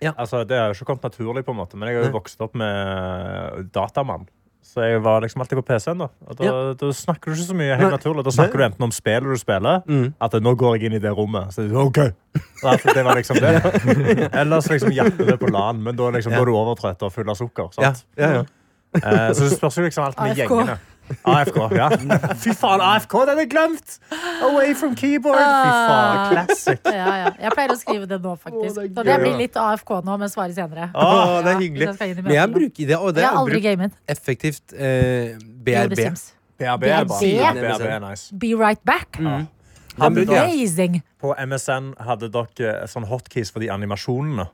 Speaker 3: Ja.
Speaker 5: Altså, det har jo ikke kommet naturlig, på en måte, men jeg har jo
Speaker 3: Nei.
Speaker 5: vokst opp med datamann. Så jeg var liksom alltid på PC-en. Da Og da,
Speaker 3: Ja.
Speaker 5: da snakker du ikke så mye. helt
Speaker 3: Nei.
Speaker 5: naturlig Da snakker du enten om spillet du spiller,
Speaker 3: Mm.
Speaker 5: at eh, nå går jeg inn i det rommet. Så er det, ok Så at det var liksom det Ellers liksom hjertet er på LAN, men da, liksom, da er du overtrøtt og full av sukker.
Speaker 3: ja,
Speaker 5: Sant?
Speaker 3: ja, ja.
Speaker 5: Eh, så det spørs jo liksom alt med
Speaker 2: AFK.
Speaker 5: gjengene. AFK, ja. Fy faen, AFK, den er glemt! Away from keyboard. Fy faen, classic.
Speaker 2: Ja, ja. Jeg pleier å skrive det nå, faktisk. Så det blir litt AFK nå, men svarer senere.
Speaker 5: Å,
Speaker 3: Å, det er
Speaker 2: Ja,
Speaker 3: hyggelig.
Speaker 2: hvis jeg skal inn i
Speaker 3: Men jeg
Speaker 2: møtene.
Speaker 3: bruker det, og det
Speaker 2: jeg har
Speaker 3: er
Speaker 2: aldri
Speaker 3: brukt
Speaker 2: gamet.
Speaker 3: effektivt eh,
Speaker 2: Jo, det
Speaker 3: BRB.
Speaker 2: Sims.
Speaker 5: BRB
Speaker 2: Det er
Speaker 5: er bra.
Speaker 3: det.
Speaker 5: BRB er nice.
Speaker 2: Be right back.
Speaker 3: Mm.
Speaker 5: Han brukte-
Speaker 2: Amazing.
Speaker 5: På MSN hadde dere eh, sånn hotkeys for de animasjonene.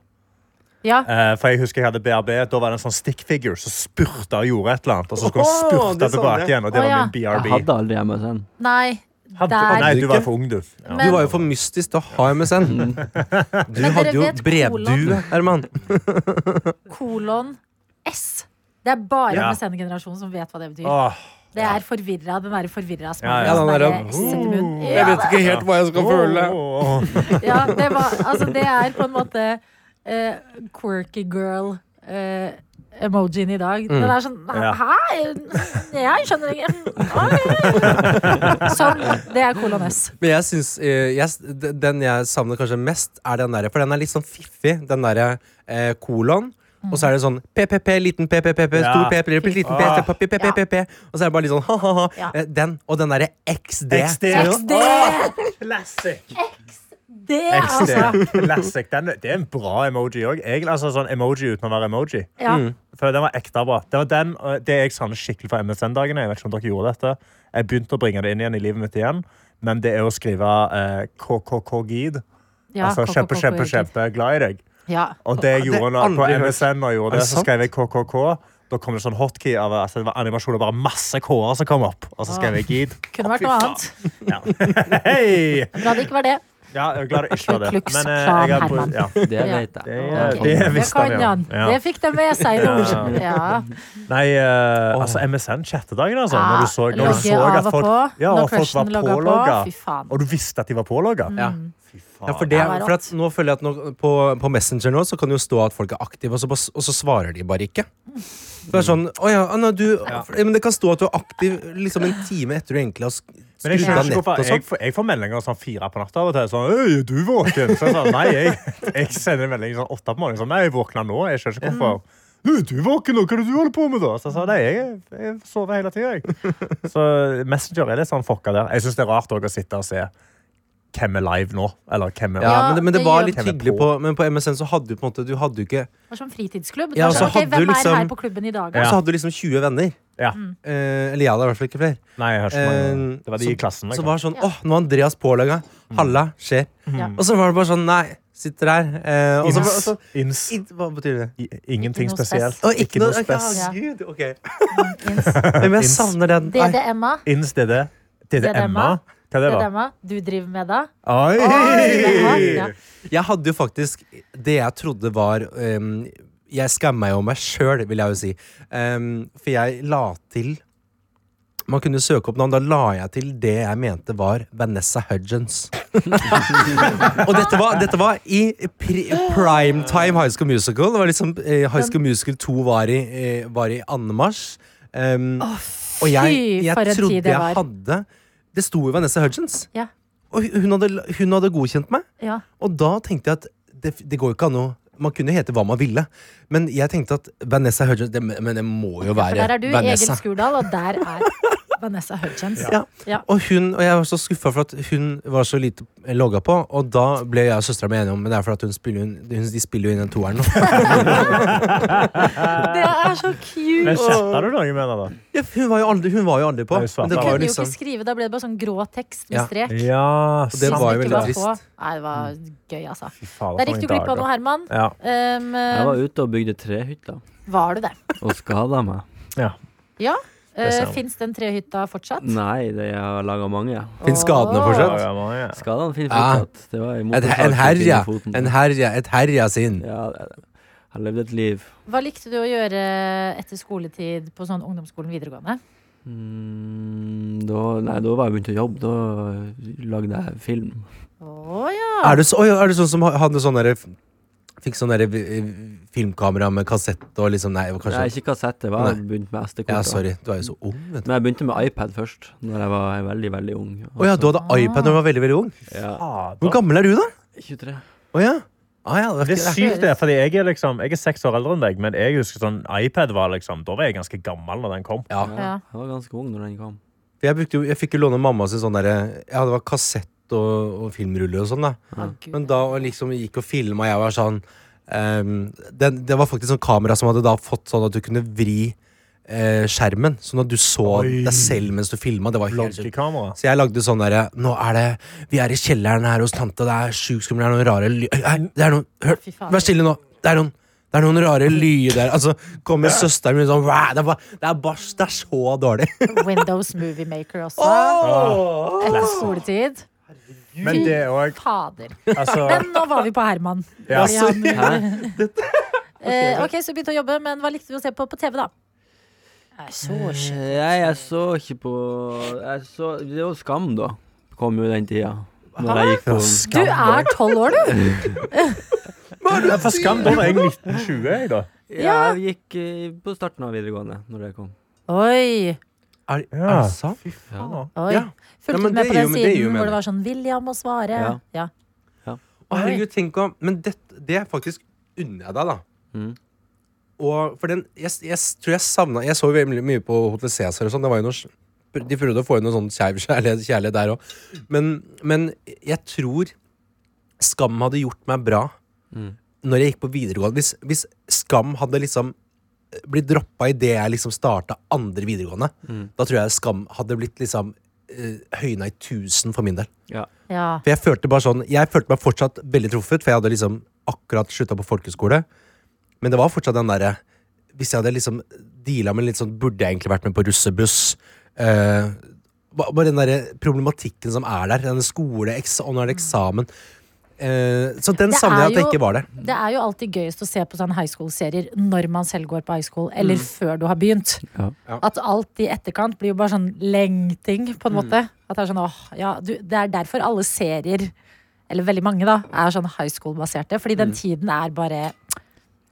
Speaker 2: Ja.
Speaker 5: Eh, for jeg husker jeg hadde BRB, Da var det en sånn stick figure som spurta og gjorde et eller annet. Og så skulle han
Speaker 3: Åh,
Speaker 5: spurte
Speaker 3: det sa
Speaker 5: tilbake
Speaker 3: jeg.
Speaker 5: igjen, og det
Speaker 2: Å, ja.
Speaker 5: var min
Speaker 4: Jeg
Speaker 5: BRB.
Speaker 4: hadde aldri MSN.
Speaker 2: Nei.
Speaker 5: Hadde- Å,
Speaker 2: Der.
Speaker 5: nei, du var for ung, du. Ja.
Speaker 3: Du var jo for mystisk til å ha MSN. Du
Speaker 2: Men dere
Speaker 3: hadde jo
Speaker 2: vet
Speaker 3: brevdue, Herman.
Speaker 2: Kolon S. Det er bare
Speaker 5: Ja.
Speaker 2: MSN-generasjonen som vet hva det betyr.
Speaker 5: Åh,
Speaker 2: Det er forvirra. Den derre forvirra
Speaker 5: Ja,
Speaker 2: smilen. som
Speaker 5: ja.
Speaker 3: Ja, den
Speaker 2: bare
Speaker 3: der-
Speaker 5: uh,
Speaker 2: setter munnen. Ja,
Speaker 3: Jeg vet ikke helt hva jeg skal føle.
Speaker 5: åh, åh.
Speaker 2: ja, det, var, altså, det er på en måte eh, quirky girl. eh, Emojien i dag. Den er sånn
Speaker 5: Mm. Ja.
Speaker 2: Hæ? Jeg skjønner ikke. Oi. Sånn. Det er kolon S.
Speaker 3: Men jeg syns eh, jeg, s- d- Den jeg savner kanskje mest, er den derre. For den er litt sånn fiffig, den derre eh, kolon. Og så er det sånn PPP, liten PPPP, stor
Speaker 5: Ja.
Speaker 3: PP, liten P,
Speaker 5: Ah.
Speaker 3: papi, PPPP. Og så er det bare litt sånn ha-ha-ha.
Speaker 2: Ja.
Speaker 3: Den og den derre XD.
Speaker 5: XD.
Speaker 2: XD!
Speaker 5: Classic.
Speaker 2: Det, er altså.
Speaker 5: XD. Classic. Den, det er en bra emoji òg. Altså, sånn emoji uten å være emoji.
Speaker 2: Ja.
Speaker 5: For den var ekte bra. Det var den, og det jeg savner skikkelig fra MSN-dagene. Jeg vet ikke om dere gjorde dette. Jeg begynte å bringe det inn igjen i livet mitt igjen. Men det er å skrive eh, KKK-gid.
Speaker 2: Ja,
Speaker 5: altså kjempe, kjempe, kjempe glad i deg.
Speaker 2: Ja.
Speaker 5: Og det jeg
Speaker 3: det har
Speaker 5: gjorde når, på
Speaker 3: aldri hørt.
Speaker 5: MSN når jeg gjorde
Speaker 3: Er
Speaker 5: det,
Speaker 3: det
Speaker 5: så skrev jeg KKK. Da kom det sånn hotkey av altså det var animasjoner, bare masse K-er som kom opp. Og så skrev jeg gid.
Speaker 2: Kunne vært noe annet.
Speaker 5: Ja. Hei!
Speaker 2: Bra det ikke var det.
Speaker 5: Ja, jeg er glad det ikke var det. Men eh,
Speaker 2: Klan
Speaker 5: jeg har på-
Speaker 2: Herman.
Speaker 5: ja.
Speaker 4: Det
Speaker 2: Ja.
Speaker 4: vet jeg.
Speaker 5: Det,
Speaker 4: Ja.
Speaker 5: er- det
Speaker 2: Det
Speaker 5: visste
Speaker 2: kan
Speaker 5: han, ja.
Speaker 2: han.
Speaker 5: ja.
Speaker 2: Det fikk de med seg i ord. Ja.
Speaker 5: Nei, eh, altså MSN-chattedagen, altså.
Speaker 2: Ja,
Speaker 5: Når du så, når du
Speaker 2: logge
Speaker 5: så
Speaker 2: Ah, av
Speaker 5: at
Speaker 2: og
Speaker 5: folk,
Speaker 2: på,
Speaker 5: ja,
Speaker 2: når
Speaker 5: og folk
Speaker 2: crushen
Speaker 5: var
Speaker 2: logger på,
Speaker 5: pålogga.
Speaker 2: fy faen.
Speaker 5: Og du visste at de var pålogga.
Speaker 3: Ja.
Speaker 5: Fy faen.
Speaker 3: Ja, for, det,
Speaker 2: Det var
Speaker 3: for at nå føler jeg at nå, på, på Messenger nå Så kan det jo stå at folk er aktive, og så, bare s- og så svarer de bare ikke. Det er sånn, å ja, Anna, du, for- Men det kan stå at du er aktiv liksom en time etter du egentlig har sk-
Speaker 5: Men jeg
Speaker 3: skrudd
Speaker 5: skjønner
Speaker 3: av
Speaker 5: ikke
Speaker 3: nettet
Speaker 5: hvorfor
Speaker 3: og
Speaker 5: jeg,
Speaker 3: sånn.
Speaker 5: får- jeg får meldinger sånn fire på natta av og til. Sånn, «Øy, er du våken? Så jeg sa, nei, jeg, jeg sender melding sånn åtte på morgenen. Sånn, nei, jeg våkna nå. Jeg skjønner ikke hvorfor. «Øy, Er du våken nå? Hva er det du holder på med da? Så jeg sa, nei, jeg, jeg sover hele tiden, jeg. Så Messenger er litt sånn fucka der. Jeg synes det er rart også å sitte og se hvem er live nå, eller hvem er
Speaker 3: Ja,
Speaker 2: Ja,
Speaker 3: men, det, men det
Speaker 2: det
Speaker 3: var
Speaker 2: gjør-
Speaker 3: litt hyggelig på Men på MSN så hadde du på en måte Du hadde jo ikke
Speaker 2: Det var som fritidsklubb.
Speaker 3: Ja,
Speaker 2: Det var
Speaker 3: så
Speaker 2: sånn,
Speaker 3: hadde
Speaker 2: ok,
Speaker 3: du
Speaker 2: hvem er
Speaker 3: liksom-
Speaker 2: her på klubben i dag?
Speaker 5: Ja.
Speaker 3: Så hadde du liksom 20 venner.
Speaker 5: Ja.
Speaker 2: Mm.
Speaker 3: Eh, eller jeg hadde i hvert fall ikke flere.
Speaker 5: Nei, jeg har ikke mange.
Speaker 3: Eh,
Speaker 5: Det var de i klassen.
Speaker 3: Så
Speaker 5: Mm. Liksom.
Speaker 3: var det sånn, åh, nå er Andreas pålaga. Halla, skjer.
Speaker 2: Mm. Ja.
Speaker 3: Og så var det bare sånn, nei, sitter her. Eh,
Speaker 5: altså,
Speaker 3: og så, og så,
Speaker 5: Ins.
Speaker 3: i, hva betyr det?
Speaker 5: I- Ingenting
Speaker 2: noe
Speaker 5: spesielt.
Speaker 2: spes.
Speaker 3: Å, ikke noe ok,
Speaker 5: spes.
Speaker 3: ah, Gud, ok
Speaker 2: Ins-
Speaker 3: Men jeg
Speaker 5: Ins.
Speaker 3: savner den. Nei.
Speaker 2: DDMA.
Speaker 5: Ins DD. DD Emma. Hva er det da?
Speaker 2: DDMA. Du driver med da? Jaha, ja.
Speaker 5: Oi!
Speaker 3: Jeg hadde jo faktisk det jeg trodde var ehm, Jeg skammer meg jo meg sjøl, vil jeg jo si. Ehm, for jeg la til Man kunne søke opp navn. Da la jeg til det jeg mente var Vanessa Hudgens. Og dette var, dette var i pri primetime High School Musical. Det var liksom eh, High School Musical 2 var i, eh, var i anmarsj. Ehm, og
Speaker 2: fy, for
Speaker 3: jeg,
Speaker 2: en
Speaker 3: jeg
Speaker 2: tid
Speaker 3: trodde
Speaker 2: det
Speaker 3: jeg
Speaker 2: var.
Speaker 3: hadde Det sto jo Vanessa Hudgens.
Speaker 2: Ja.
Speaker 3: Og hun hadde, hun hadde godkjent meg.
Speaker 2: Ja.
Speaker 3: Og da tenkte jeg at det, det går jo ikke an å Man kunne hete hva man ville, men jeg tenkte at Vanessa Hudgens det, Men det må jo
Speaker 2: For
Speaker 3: være
Speaker 2: der er du, Egil
Speaker 3: Vanessa.
Speaker 2: Skurdal, og der er Vanessa Hudgens.
Speaker 3: Ja.
Speaker 2: Ja.
Speaker 3: Og, hun, og jeg var så skuffa for at hun var så lite logga på, og da ble jeg og søstera mi enige om Men det er fordi at hun spiller, hun, hun, de spiller jo inn den toeren nå.
Speaker 2: Det er så cute!
Speaker 5: Men chatta du noe med henne, da?
Speaker 3: Ja, hun, var jo aldri, hun var jo aldri på.
Speaker 5: Nei, svart,
Speaker 3: Men det
Speaker 5: da.
Speaker 2: Kunne
Speaker 3: var jo
Speaker 2: jo ikke
Speaker 3: liksom
Speaker 2: skrive, da ble det bare sånn grå tekst med
Speaker 3: Ja.
Speaker 2: strek.
Speaker 5: Ja,
Speaker 3: det
Speaker 2: som
Speaker 3: var jo
Speaker 2: ikke
Speaker 3: veldig trist.
Speaker 2: på. Nei, det var gøy, altså.
Speaker 5: faen,
Speaker 2: Der gikk du glipp av noe, Herman.
Speaker 5: Ja.
Speaker 2: Um,
Speaker 4: Jeg var ute og bygde trehytter
Speaker 2: var du det?
Speaker 4: og skada meg.
Speaker 5: ja.
Speaker 2: Ja.
Speaker 5: ser
Speaker 2: Uh,
Speaker 5: jeg.
Speaker 2: Fins den trehytta fortsatt?
Speaker 4: Nei, det jeg har laga mange.
Speaker 3: Fins skadene
Speaker 2: Åh.
Speaker 3: fortsatt?
Speaker 5: ja.
Speaker 4: Skadene finner
Speaker 3: Ja.
Speaker 4: fortsatt. Det var i
Speaker 3: Ah. En,
Speaker 4: motorsag
Speaker 3: en
Speaker 4: som
Speaker 3: herja.
Speaker 4: finner foten.
Speaker 3: En herja. Et herja sin.
Speaker 4: Ja, det- jeg levde et liv.
Speaker 2: Hva likte du å gjøre etter skoletid på sånn ungdomsskolen videregående?
Speaker 4: Mm, da, nei, da var jeg begynt å jobbe. Da lagde jeg film.
Speaker 2: Å ja.
Speaker 3: Er du, så, oi, er du sånn som ha- hadde sånn derre Fikk sånn derre vi- vi- filmkamera med kassett og liksom Nei, det var
Speaker 4: Nei,
Speaker 3: kanskje
Speaker 4: ikke kassett. Det var jeg begynte med SD-kort.
Speaker 3: Ja,
Speaker 4: da.
Speaker 3: sorry. Du er jo så ung, vet du.
Speaker 4: Men jeg begynte med iPad først, Når jeg var veldig, veldig ung.
Speaker 3: Å Ah. ja, du hadde iPad da du var veldig veldig ung?
Speaker 4: ja,
Speaker 3: Hvor gammel er du, da?
Speaker 4: 23.
Speaker 3: Å ja. Ah, ja, det var
Speaker 5: Det er
Speaker 3: ikke det.
Speaker 5: sykt, det. fordi jeg er, liksom, jeg er seks år eldre enn deg, men jeg husker sånn iPad var liksom Da var jeg ganske gammel når den kom.
Speaker 3: Ja.
Speaker 2: Ja.
Speaker 4: Jeg var ganske ung når den kom.
Speaker 3: For Jeg, brukte, jo- jeg fikk jo låne mamma sin sånn derre Ja, det var kassett og, og filmruller og sånn, da.
Speaker 2: Å, Gud.
Speaker 3: Men da og liksom gikk og filma, jeg var sånn ehm, det, det var faktisk sånn kamera som hadde da fått sånn at du kunne vri eh, skjermen. Sånn at du så
Speaker 5: Oi.
Speaker 3: deg selv mens du filma. Det var helt sjukt.
Speaker 5: Bloggekamera.
Speaker 3: Så jeg lagde sånn derre Nå er det Vi er i kjelleren her hos tante, det er sjukt skummelt, det er noen rare ly... Nei, Det er noen Hør,
Speaker 2: Fy faen.
Speaker 3: vær stille nå. Det er noen det er noen rare lyder Altså, kommer søsteren min sånn «Wow, Det er bare, det er, bare, det er så dårlig.
Speaker 2: Windows Movie Maker også. Etter skoletid.
Speaker 5: Men det òg
Speaker 2: Fader.
Speaker 5: Altså
Speaker 2: Men nå var vi på Herman.
Speaker 5: Ja,
Speaker 2: Fordi han-
Speaker 4: Hæ?
Speaker 2: Eh, ok, Så begynte å jobbe, men hva likte du å se på på TV, da? Jeg
Speaker 3: Mm.
Speaker 2: så shit.
Speaker 4: Nei, jeg så ikke på jeg så, Det var Skam, da. Kom jo den tida. Når jeg gikk på
Speaker 2: Du er tolv år, du!
Speaker 5: Ja, For skam, da var jeg 1920, jeg, da.
Speaker 4: ja, Jeg gikk eh, på starten av videregående når jeg kom.
Speaker 2: Oi.
Speaker 3: Er, er
Speaker 5: Ja.
Speaker 3: det sant?
Speaker 2: oi.
Speaker 3: Ja. Ja,
Speaker 2: Fulgte
Speaker 3: men
Speaker 2: du med
Speaker 3: det
Speaker 2: på den
Speaker 3: gir jo- men det gir jo
Speaker 2: siden hvor det
Speaker 3: mening.
Speaker 2: var sånn 'William å svare'?
Speaker 4: Ja.
Speaker 2: Ja.
Speaker 3: Å, herregud, tenk om Men det, det er faktisk unner jeg deg, da.
Speaker 4: Mhm.
Speaker 3: Og for den Jeg, jeg tror jeg savna Jeg så jo veldig mye på Hotel Cæsar og sånn. Det var jo noe s- De prøvde å få inn noe sånn skeiv kjærlighet, kjærlighet der òg. Men, men jeg tror Skam hadde gjort meg bra
Speaker 4: Mhm.
Speaker 3: når jeg gikk på videregående. Hvis, hvis Skam hadde liksom blitt droppa idet jeg liksom starta andre videregående, da tror jeg Skam hadde blitt liksom eh, høyna i tusen for min del.
Speaker 4: Ja.
Speaker 2: ja.
Speaker 3: For jeg følte bare sånn Jeg følte meg fortsatt veldig truffet, for jeg hadde liksom akkurat slutta på folkeskole. Men det var fortsatt den derre Hvis jeg hadde liksom deala med litt sånn Burde jeg egentlig vært med på russebuss? Eh, ba- bare den derre problematikken som er der. Denne skole, eks og nå er det eksamen. Eh, så den
Speaker 2: Det
Speaker 3: savner
Speaker 2: er
Speaker 3: jeg at jeg
Speaker 2: jo-
Speaker 3: ikke var der.
Speaker 2: Det er jo alltid gøyest å se på sånne high school-serier når man selv går på high school, eller før du har begynt.
Speaker 4: Mm. Ja.
Speaker 3: Ja.
Speaker 2: At alt i etterkant blir jo bare sånn lengting, på
Speaker 4: Mm.
Speaker 2: en måte. At det er sånn, åh, ja, du, det er derfor alle serier, eller veldig mange da, er sånn high school-baserte. Fordi den tiden er bare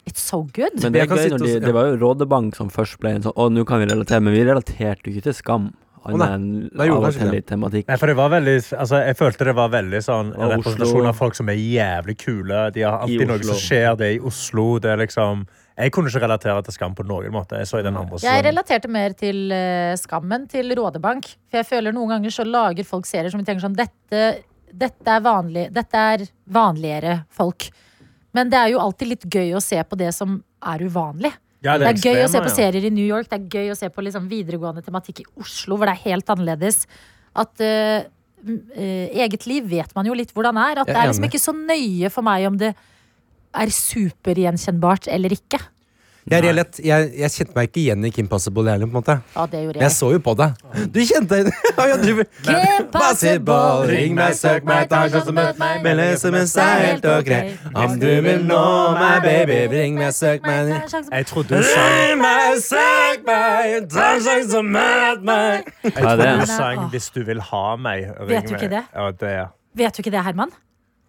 Speaker 2: It's so good.
Speaker 4: Mm. Men det,
Speaker 3: Jeg
Speaker 4: er
Speaker 3: kan
Speaker 4: gøy
Speaker 3: sitte
Speaker 4: når
Speaker 3: og
Speaker 4: de,
Speaker 3: s- ja.
Speaker 4: det var jo Rådebank som først ble en sånn Å, nå kan vi relatere, men vi relaterte jo ikke til Skam.
Speaker 3: nei.
Speaker 4: Annet enn
Speaker 3: Nei, gjorde
Speaker 4: av og
Speaker 3: kanskje
Speaker 4: til
Speaker 3: det.
Speaker 4: litt tematikk.
Speaker 5: Nei, for det var veldig, altså, jeg følte det var veldig sånn
Speaker 4: Og Oslo.
Speaker 5: representasjon av folk som er jævlig kule. De har
Speaker 4: I
Speaker 5: alltid noe
Speaker 4: Oslo.
Speaker 5: som skjer. Det er i Oslo. Det er liksom Jeg kunne ikke relatere til Skam på noen måte. Jeg så i den andre
Speaker 2: Jeg
Speaker 5: sesongen.
Speaker 2: relaterte mer til eh, skammen til Rådebank. For jeg føler noen ganger så lager folk serier som vi tenker sånn dette, dette, er vanlig, dette er vanligere folk. Men det er jo alltid litt gøy å se på det som er uvanlig.
Speaker 5: Ja,
Speaker 2: Det er gøy å se
Speaker 5: ekstreme,
Speaker 2: på
Speaker 5: ja.
Speaker 2: serier i New York, det er gøy å se på liksom videregående tematikk i Oslo, hvor det er helt annerledes. At eh, m- eh, eget liv vet man jo litt hvordan er. At
Speaker 3: Jeg
Speaker 2: det
Speaker 3: er
Speaker 2: er liksom
Speaker 3: enig.
Speaker 2: ikke så nøye for meg om det er supergjenkjennbart eller ikke.
Speaker 3: Jeg, relat- jeg, jeg kjente meg ikke igjen i Kim Possible heller, på en måte.
Speaker 2: Ja, det gjorde
Speaker 3: Men jeg så jo på det. Du kjente Ja, ja, du-
Speaker 2: Kim Possible,
Speaker 5: ring meg, søk meg, ta en sjanse, møt meg,
Speaker 3: men en SMS er helt ok. Om du vil nå meg, baby, ring meg, søk meg
Speaker 5: Jeg trodde du sang,
Speaker 3: meg, søk meg, ta en sjanse, møt meg.
Speaker 4: Ja,
Speaker 5: jeg
Speaker 4: det
Speaker 5: trodde
Speaker 4: er-
Speaker 5: du sang 'Hvis du vil ha meg'. Ring
Speaker 2: Vet du ikke
Speaker 5: meg.
Speaker 2: det?
Speaker 5: Ja, det er.
Speaker 2: Vet du ikke det, Herman?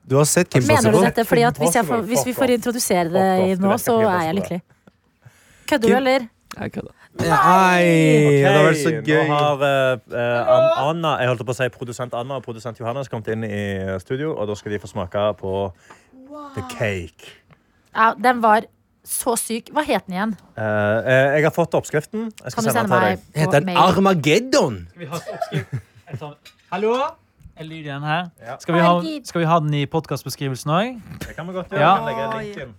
Speaker 3: Du har sett Kim
Speaker 2: Mener du
Speaker 3: Possible?
Speaker 2: dette? Fordi at hvis, jeg får,
Speaker 5: Impossible,
Speaker 2: hvis vi
Speaker 5: fuck
Speaker 2: får
Speaker 5: off.
Speaker 2: introdusere det
Speaker 5: Fuck off, du
Speaker 2: nå,
Speaker 5: vet
Speaker 2: så
Speaker 5: ikke
Speaker 2: er jeg
Speaker 5: Impossible.
Speaker 2: lykkelig. Kødder du,
Speaker 3: Kim-
Speaker 2: eller?
Speaker 4: Jeg kødder.
Speaker 3: Nei, det hadde vært så
Speaker 5: Ok,
Speaker 3: gøy.
Speaker 5: Nå har eh, eh, An- Anna, jeg holdt på å si produsent Anna og produsent Johannes kommet inn i eh, studio, og da skal de få smake på the cake.
Speaker 2: Ja, den var så syk. Hva het den igjen?
Speaker 5: Eh, eh, jeg har fått oppskriften. Jeg skal
Speaker 2: Kan du
Speaker 5: sende
Speaker 2: sende meg
Speaker 5: den til deg.
Speaker 2: på
Speaker 3: Heter den
Speaker 2: mail?
Speaker 3: Armageddon?
Speaker 6: Vi har oppskrift. sånn- Hallo? Jeg lyder igjen her.
Speaker 5: Ja.
Speaker 6: Skal vi ha,
Speaker 2: Herregud.
Speaker 6: skal vi ha den i podkastbeskrivelsen òg?
Speaker 5: Det kan vi godt gjøre. Jeg
Speaker 6: Ja.
Speaker 5: legger linken.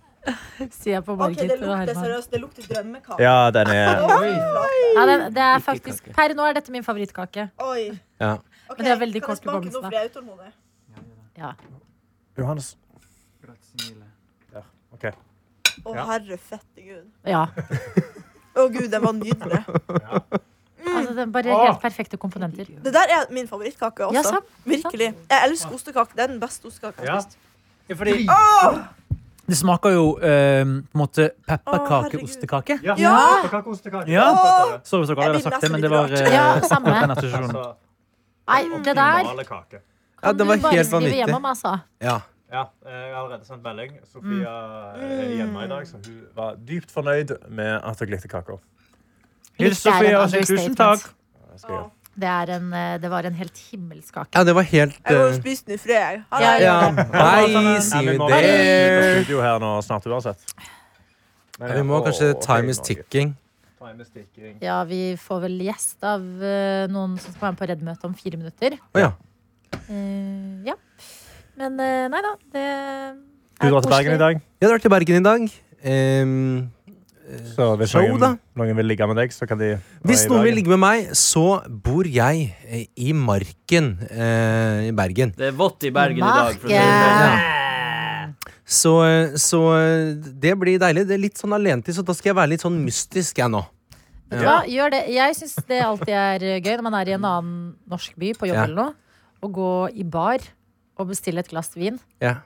Speaker 2: Sier jeg på
Speaker 7: Ok,
Speaker 2: Margit
Speaker 7: det
Speaker 2: og
Speaker 7: lukter
Speaker 2: Herman.
Speaker 7: seriøst. Det lukter drømmekake.
Speaker 5: Ja, den er
Speaker 2: Ja, det, det er faktisk Per nå er dette min favorittkake.
Speaker 7: Oi.
Speaker 3: Ja.
Speaker 7: Ok,
Speaker 2: Men det er veldig
Speaker 7: kan
Speaker 2: kort
Speaker 7: jeg smake
Speaker 2: hukommelse,
Speaker 7: nå,
Speaker 2: da.
Speaker 7: for jeg er utålmodig?
Speaker 2: Ja.
Speaker 5: Johannes. OK.
Speaker 7: Å,
Speaker 5: Ja.
Speaker 7: herre fette gud.
Speaker 2: ja.
Speaker 7: Å gud, den var nydelig.
Speaker 2: Altså, det er bare helt perfekte komponenter.
Speaker 7: Det der er min favorittkake også.
Speaker 2: Ja, sant.
Speaker 7: Virkelig. Jeg elsker ostekake. Det er den beste ostekaka jeg
Speaker 5: Ja.
Speaker 7: har spist.
Speaker 6: Fordi det smaker jo eh, på en måte pepperkakeostekake.
Speaker 5: Ja!
Speaker 7: Ja.
Speaker 6: Ja.
Speaker 7: Åh.
Speaker 6: Sorry hvis dere
Speaker 7: Jeg
Speaker 6: allerede
Speaker 7: blir
Speaker 6: har sagt det, Altså, men
Speaker 7: nesten litt
Speaker 6: det var
Speaker 7: rørt.
Speaker 6: eh,
Speaker 2: Ja, samme.
Speaker 6: den assosiasjonen.
Speaker 2: Nei, det der
Speaker 5: kake.
Speaker 3: Ja,
Speaker 2: kan
Speaker 3: det
Speaker 2: du
Speaker 3: var
Speaker 2: bare
Speaker 3: helt
Speaker 2: skrive
Speaker 3: vanvittig.
Speaker 2: hjem om, altså.
Speaker 3: Ja.
Speaker 5: Ja, eh, jeg har allerede sendt melding. Sofia
Speaker 3: Mm.
Speaker 5: eh, er hjemme i dag, så hun var dypt fornøyd med at jeg likte kaka.
Speaker 7: altså,
Speaker 6: Hils Sofie og si tusen takk.
Speaker 5: Det skal jeg gjøre.
Speaker 2: Det, er en, eh, det var en helt himmelsk kake.
Speaker 3: Ja, det var helt
Speaker 7: Jeg må jo
Speaker 3: eh,
Speaker 7: spise den i fred, jeg. Ha
Speaker 2: Ja,
Speaker 7: det.
Speaker 2: ja.
Speaker 3: Ja, Bye, see
Speaker 5: Ja, vi
Speaker 3: you
Speaker 5: må
Speaker 3: there.
Speaker 5: ut av studio her nå snart uansett.
Speaker 3: Ja, Vi må kanskje Time is ticking.
Speaker 5: ticking.
Speaker 2: Ja, vi får vel gjest av eh, noen som skal være med på Redd-møtet om fire minutter.
Speaker 3: Å ja.
Speaker 2: Eh, ja. Men eh, nei da, det
Speaker 5: Du drar til Bergen i dag.
Speaker 3: Jeg har vært i Bergen i dag. Ehm,
Speaker 5: Så hvis
Speaker 3: Show, da.
Speaker 5: noen, noen vil ligge med deg, så kan de være
Speaker 3: hvis
Speaker 5: i
Speaker 3: noen vil
Speaker 5: Bergen.
Speaker 3: ligge med meg, så bor jeg eh, i Marken eh, i Bergen.
Speaker 8: Det er vått i Bergen i dag. For å si det sånn.
Speaker 2: Marken!
Speaker 3: Så, eh, så eh, det blir deilig. Det er litt sånn alenetid, så da skal jeg være litt sånn mystisk, jeg nå.
Speaker 2: Vet du hva? Gjør det. Jeg syns det alltid er eh, gøy når man er i en annen norsk by på jobb
Speaker 3: Ja.
Speaker 2: eller noe, å gå i bar og bestille et glass vin.
Speaker 3: Ja.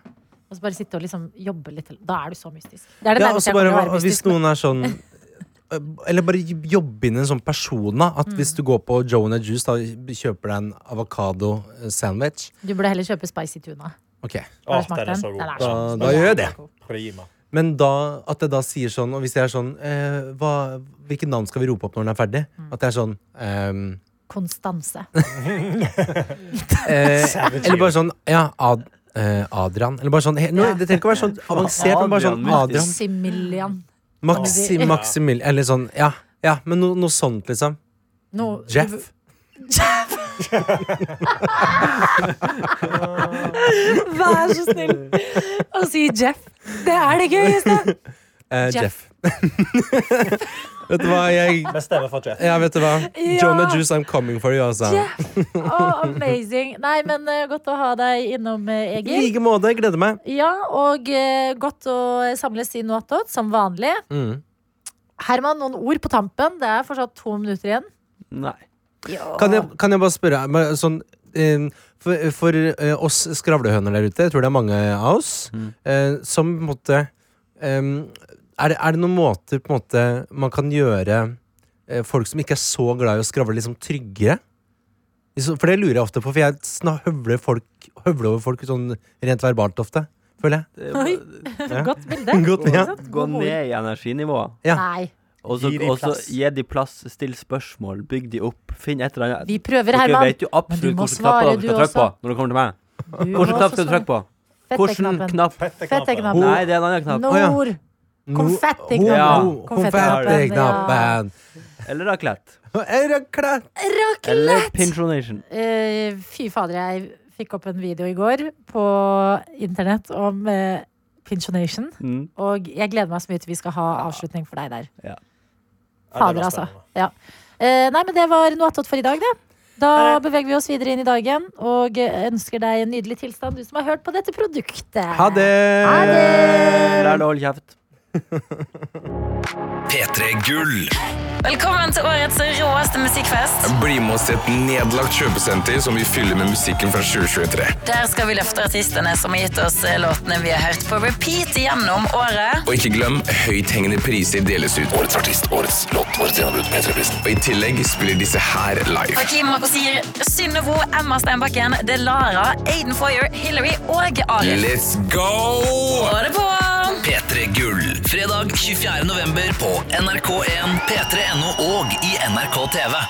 Speaker 2: Og så bare sitte og liksom jobbe litt. Da er du så mystisk. Det er det
Speaker 3: Ja, og
Speaker 2: nærmeste
Speaker 3: så
Speaker 2: jeg
Speaker 3: bare,
Speaker 2: kommer å være
Speaker 3: hvis
Speaker 2: mystisk.
Speaker 3: noen er sånn eh, Eller bare jobbe inn en sånn persona.
Speaker 2: Mm.
Speaker 3: At hvis du går på Joe and the Juice, da kjøper deg en avokado sandwich.
Speaker 2: Du burde heller kjøpe spicy tuna.
Speaker 3: Ok,
Speaker 5: Åh,
Speaker 2: Har du smakt
Speaker 5: den er så god.
Speaker 2: Den er
Speaker 3: Da,
Speaker 2: så god.
Speaker 3: da gjør jeg det.
Speaker 5: Prima.
Speaker 3: Men da, at jeg da sier sånn, og hvis jeg er sånn eh, hva, Hvilket navn skal vi rope opp når den er ferdig?
Speaker 2: Mm.
Speaker 3: At jeg er sånn ehm,
Speaker 2: Konstanse.
Speaker 3: eh, Eller bare sånn Ja, Ad, eh, Adrian. Eller bare sånn he, nå, Det trenger ikke å være sånn avansert, men bare sånn
Speaker 8: Adrian,
Speaker 3: Adrian.
Speaker 2: Similian.
Speaker 3: Maxi, Maximil... Eller sånn, ja. ja men no, noe sånt, liksom.
Speaker 2: No,
Speaker 3: Jeff.
Speaker 2: Vær så snill å si Jeff. Det er det gøyeste.
Speaker 3: Eh, Jeff.
Speaker 2: Jeff.
Speaker 3: vet du hva, jeg
Speaker 5: Vi stemmer for Jeff.
Speaker 3: ja, vet du hva?
Speaker 2: Ja.
Speaker 3: Jonah Juice, I'm coming for you, altså.
Speaker 2: Jeff. Å, amazing. Nei, men eh, godt å ha deg innom, eh,
Speaker 3: I
Speaker 2: Egil.
Speaker 3: like måte. Gleder meg.
Speaker 2: Ja, og eh, godt å samles i Noatot, som vanlig.
Speaker 3: Mm.
Speaker 2: Herman, noen ord på tampen. Det er fortsatt to minutter igjen.
Speaker 4: Nei.
Speaker 3: Kan jeg, kan jeg bare spørre men sånn, eh, For, for eh, oss skravlehøner der ute, jeg tror det er mange av oss, eh, som på en måte eh, er, det, er det noen måter på en måte man kan gjøre eh, folk som ikke er så glad i å skravle, liksom tryggere? Liksom, For det lurer jeg ofte på, for jeg snak- høvler, folk, høvler over folk sånn rent verbalt ofte. Føler jeg.
Speaker 4: Det er
Speaker 2: Oi,
Speaker 4: bare-
Speaker 2: godt bilde.
Speaker 3: Godt, ja.
Speaker 2: Ikke sant?
Speaker 4: Gå
Speaker 2: God ord.
Speaker 4: ned i energinivået.
Speaker 3: Ja.
Speaker 2: Nei.
Speaker 4: Og så
Speaker 5: Gi de
Speaker 4: og så
Speaker 5: plass.
Speaker 4: gi de plass, still spørsmål, bygg de opp. Finn et eller annet.
Speaker 2: Vi prøver,
Speaker 4: Dere
Speaker 2: Herman.
Speaker 4: vet jo
Speaker 2: Men du
Speaker 4: absolutt
Speaker 2: må
Speaker 4: hvilken knapp
Speaker 2: svare,
Speaker 4: dere
Speaker 2: du
Speaker 4: skal trykke på
Speaker 2: også.
Speaker 4: når dere kommer til meg.
Speaker 2: Du må
Speaker 4: Hvilken knapp skal
Speaker 2: også
Speaker 4: du trykke på?
Speaker 2: svare.
Speaker 4: Hvilken
Speaker 2: Fetteknappen.
Speaker 4: knapp?
Speaker 2: Fetteknappen.
Speaker 4: Nei, det er en annen knapp.
Speaker 3: Å, ja.
Speaker 2: Nord.
Speaker 3: No-
Speaker 2: Konfettiknappen.
Speaker 3: Ja,
Speaker 4: Ja.
Speaker 3: Konfettiknappen.
Speaker 4: Eller raclette.
Speaker 3: Er det klart?
Speaker 4: Eller pinchonation.
Speaker 2: Eh, fy fader, jeg fikk opp en video i går på internett om uh, Pinchonation.
Speaker 4: Mm.
Speaker 2: Og jeg gleder meg så mye til vi skal ha avslutning for deg der.
Speaker 4: Ja.
Speaker 2: Fader, altså. Ja. Eh, nei, men det var noe attåt for i dag, det. Da beveger vi oss videre inn i dagen og eh, ønsker deg en nydelig tilstand, du som har hørt på dette produktet.
Speaker 3: Ha det!
Speaker 2: Ha det!
Speaker 4: Lær deg å holde kjeft.
Speaker 1: P3 Gull.
Speaker 9: Velkommen til årets råeste musikkfest.
Speaker 10: Bli med oss til et nedlagt kjøpesenter som vi fyller med musikken fra 2023.
Speaker 9: Der skal vi løfte artistene som har gitt oss eh, låtene vi har hørt på repeat gjennom året.
Speaker 10: Og ikke glem, høythengende priser deles ut. Årets artist, årets låt, årets gjennombrudd, P3-prisen. Og i tillegg spiller disse her live.
Speaker 9: Klimaco sier Synnøvo, Emma Steinbakken, Delara, Aiden Foyer, Hillary og Arif.
Speaker 10: Let's go!
Speaker 9: Ha det på!
Speaker 1: P3 Gull. Fredag 24. november på NRK1, P3.no og i NRK TV.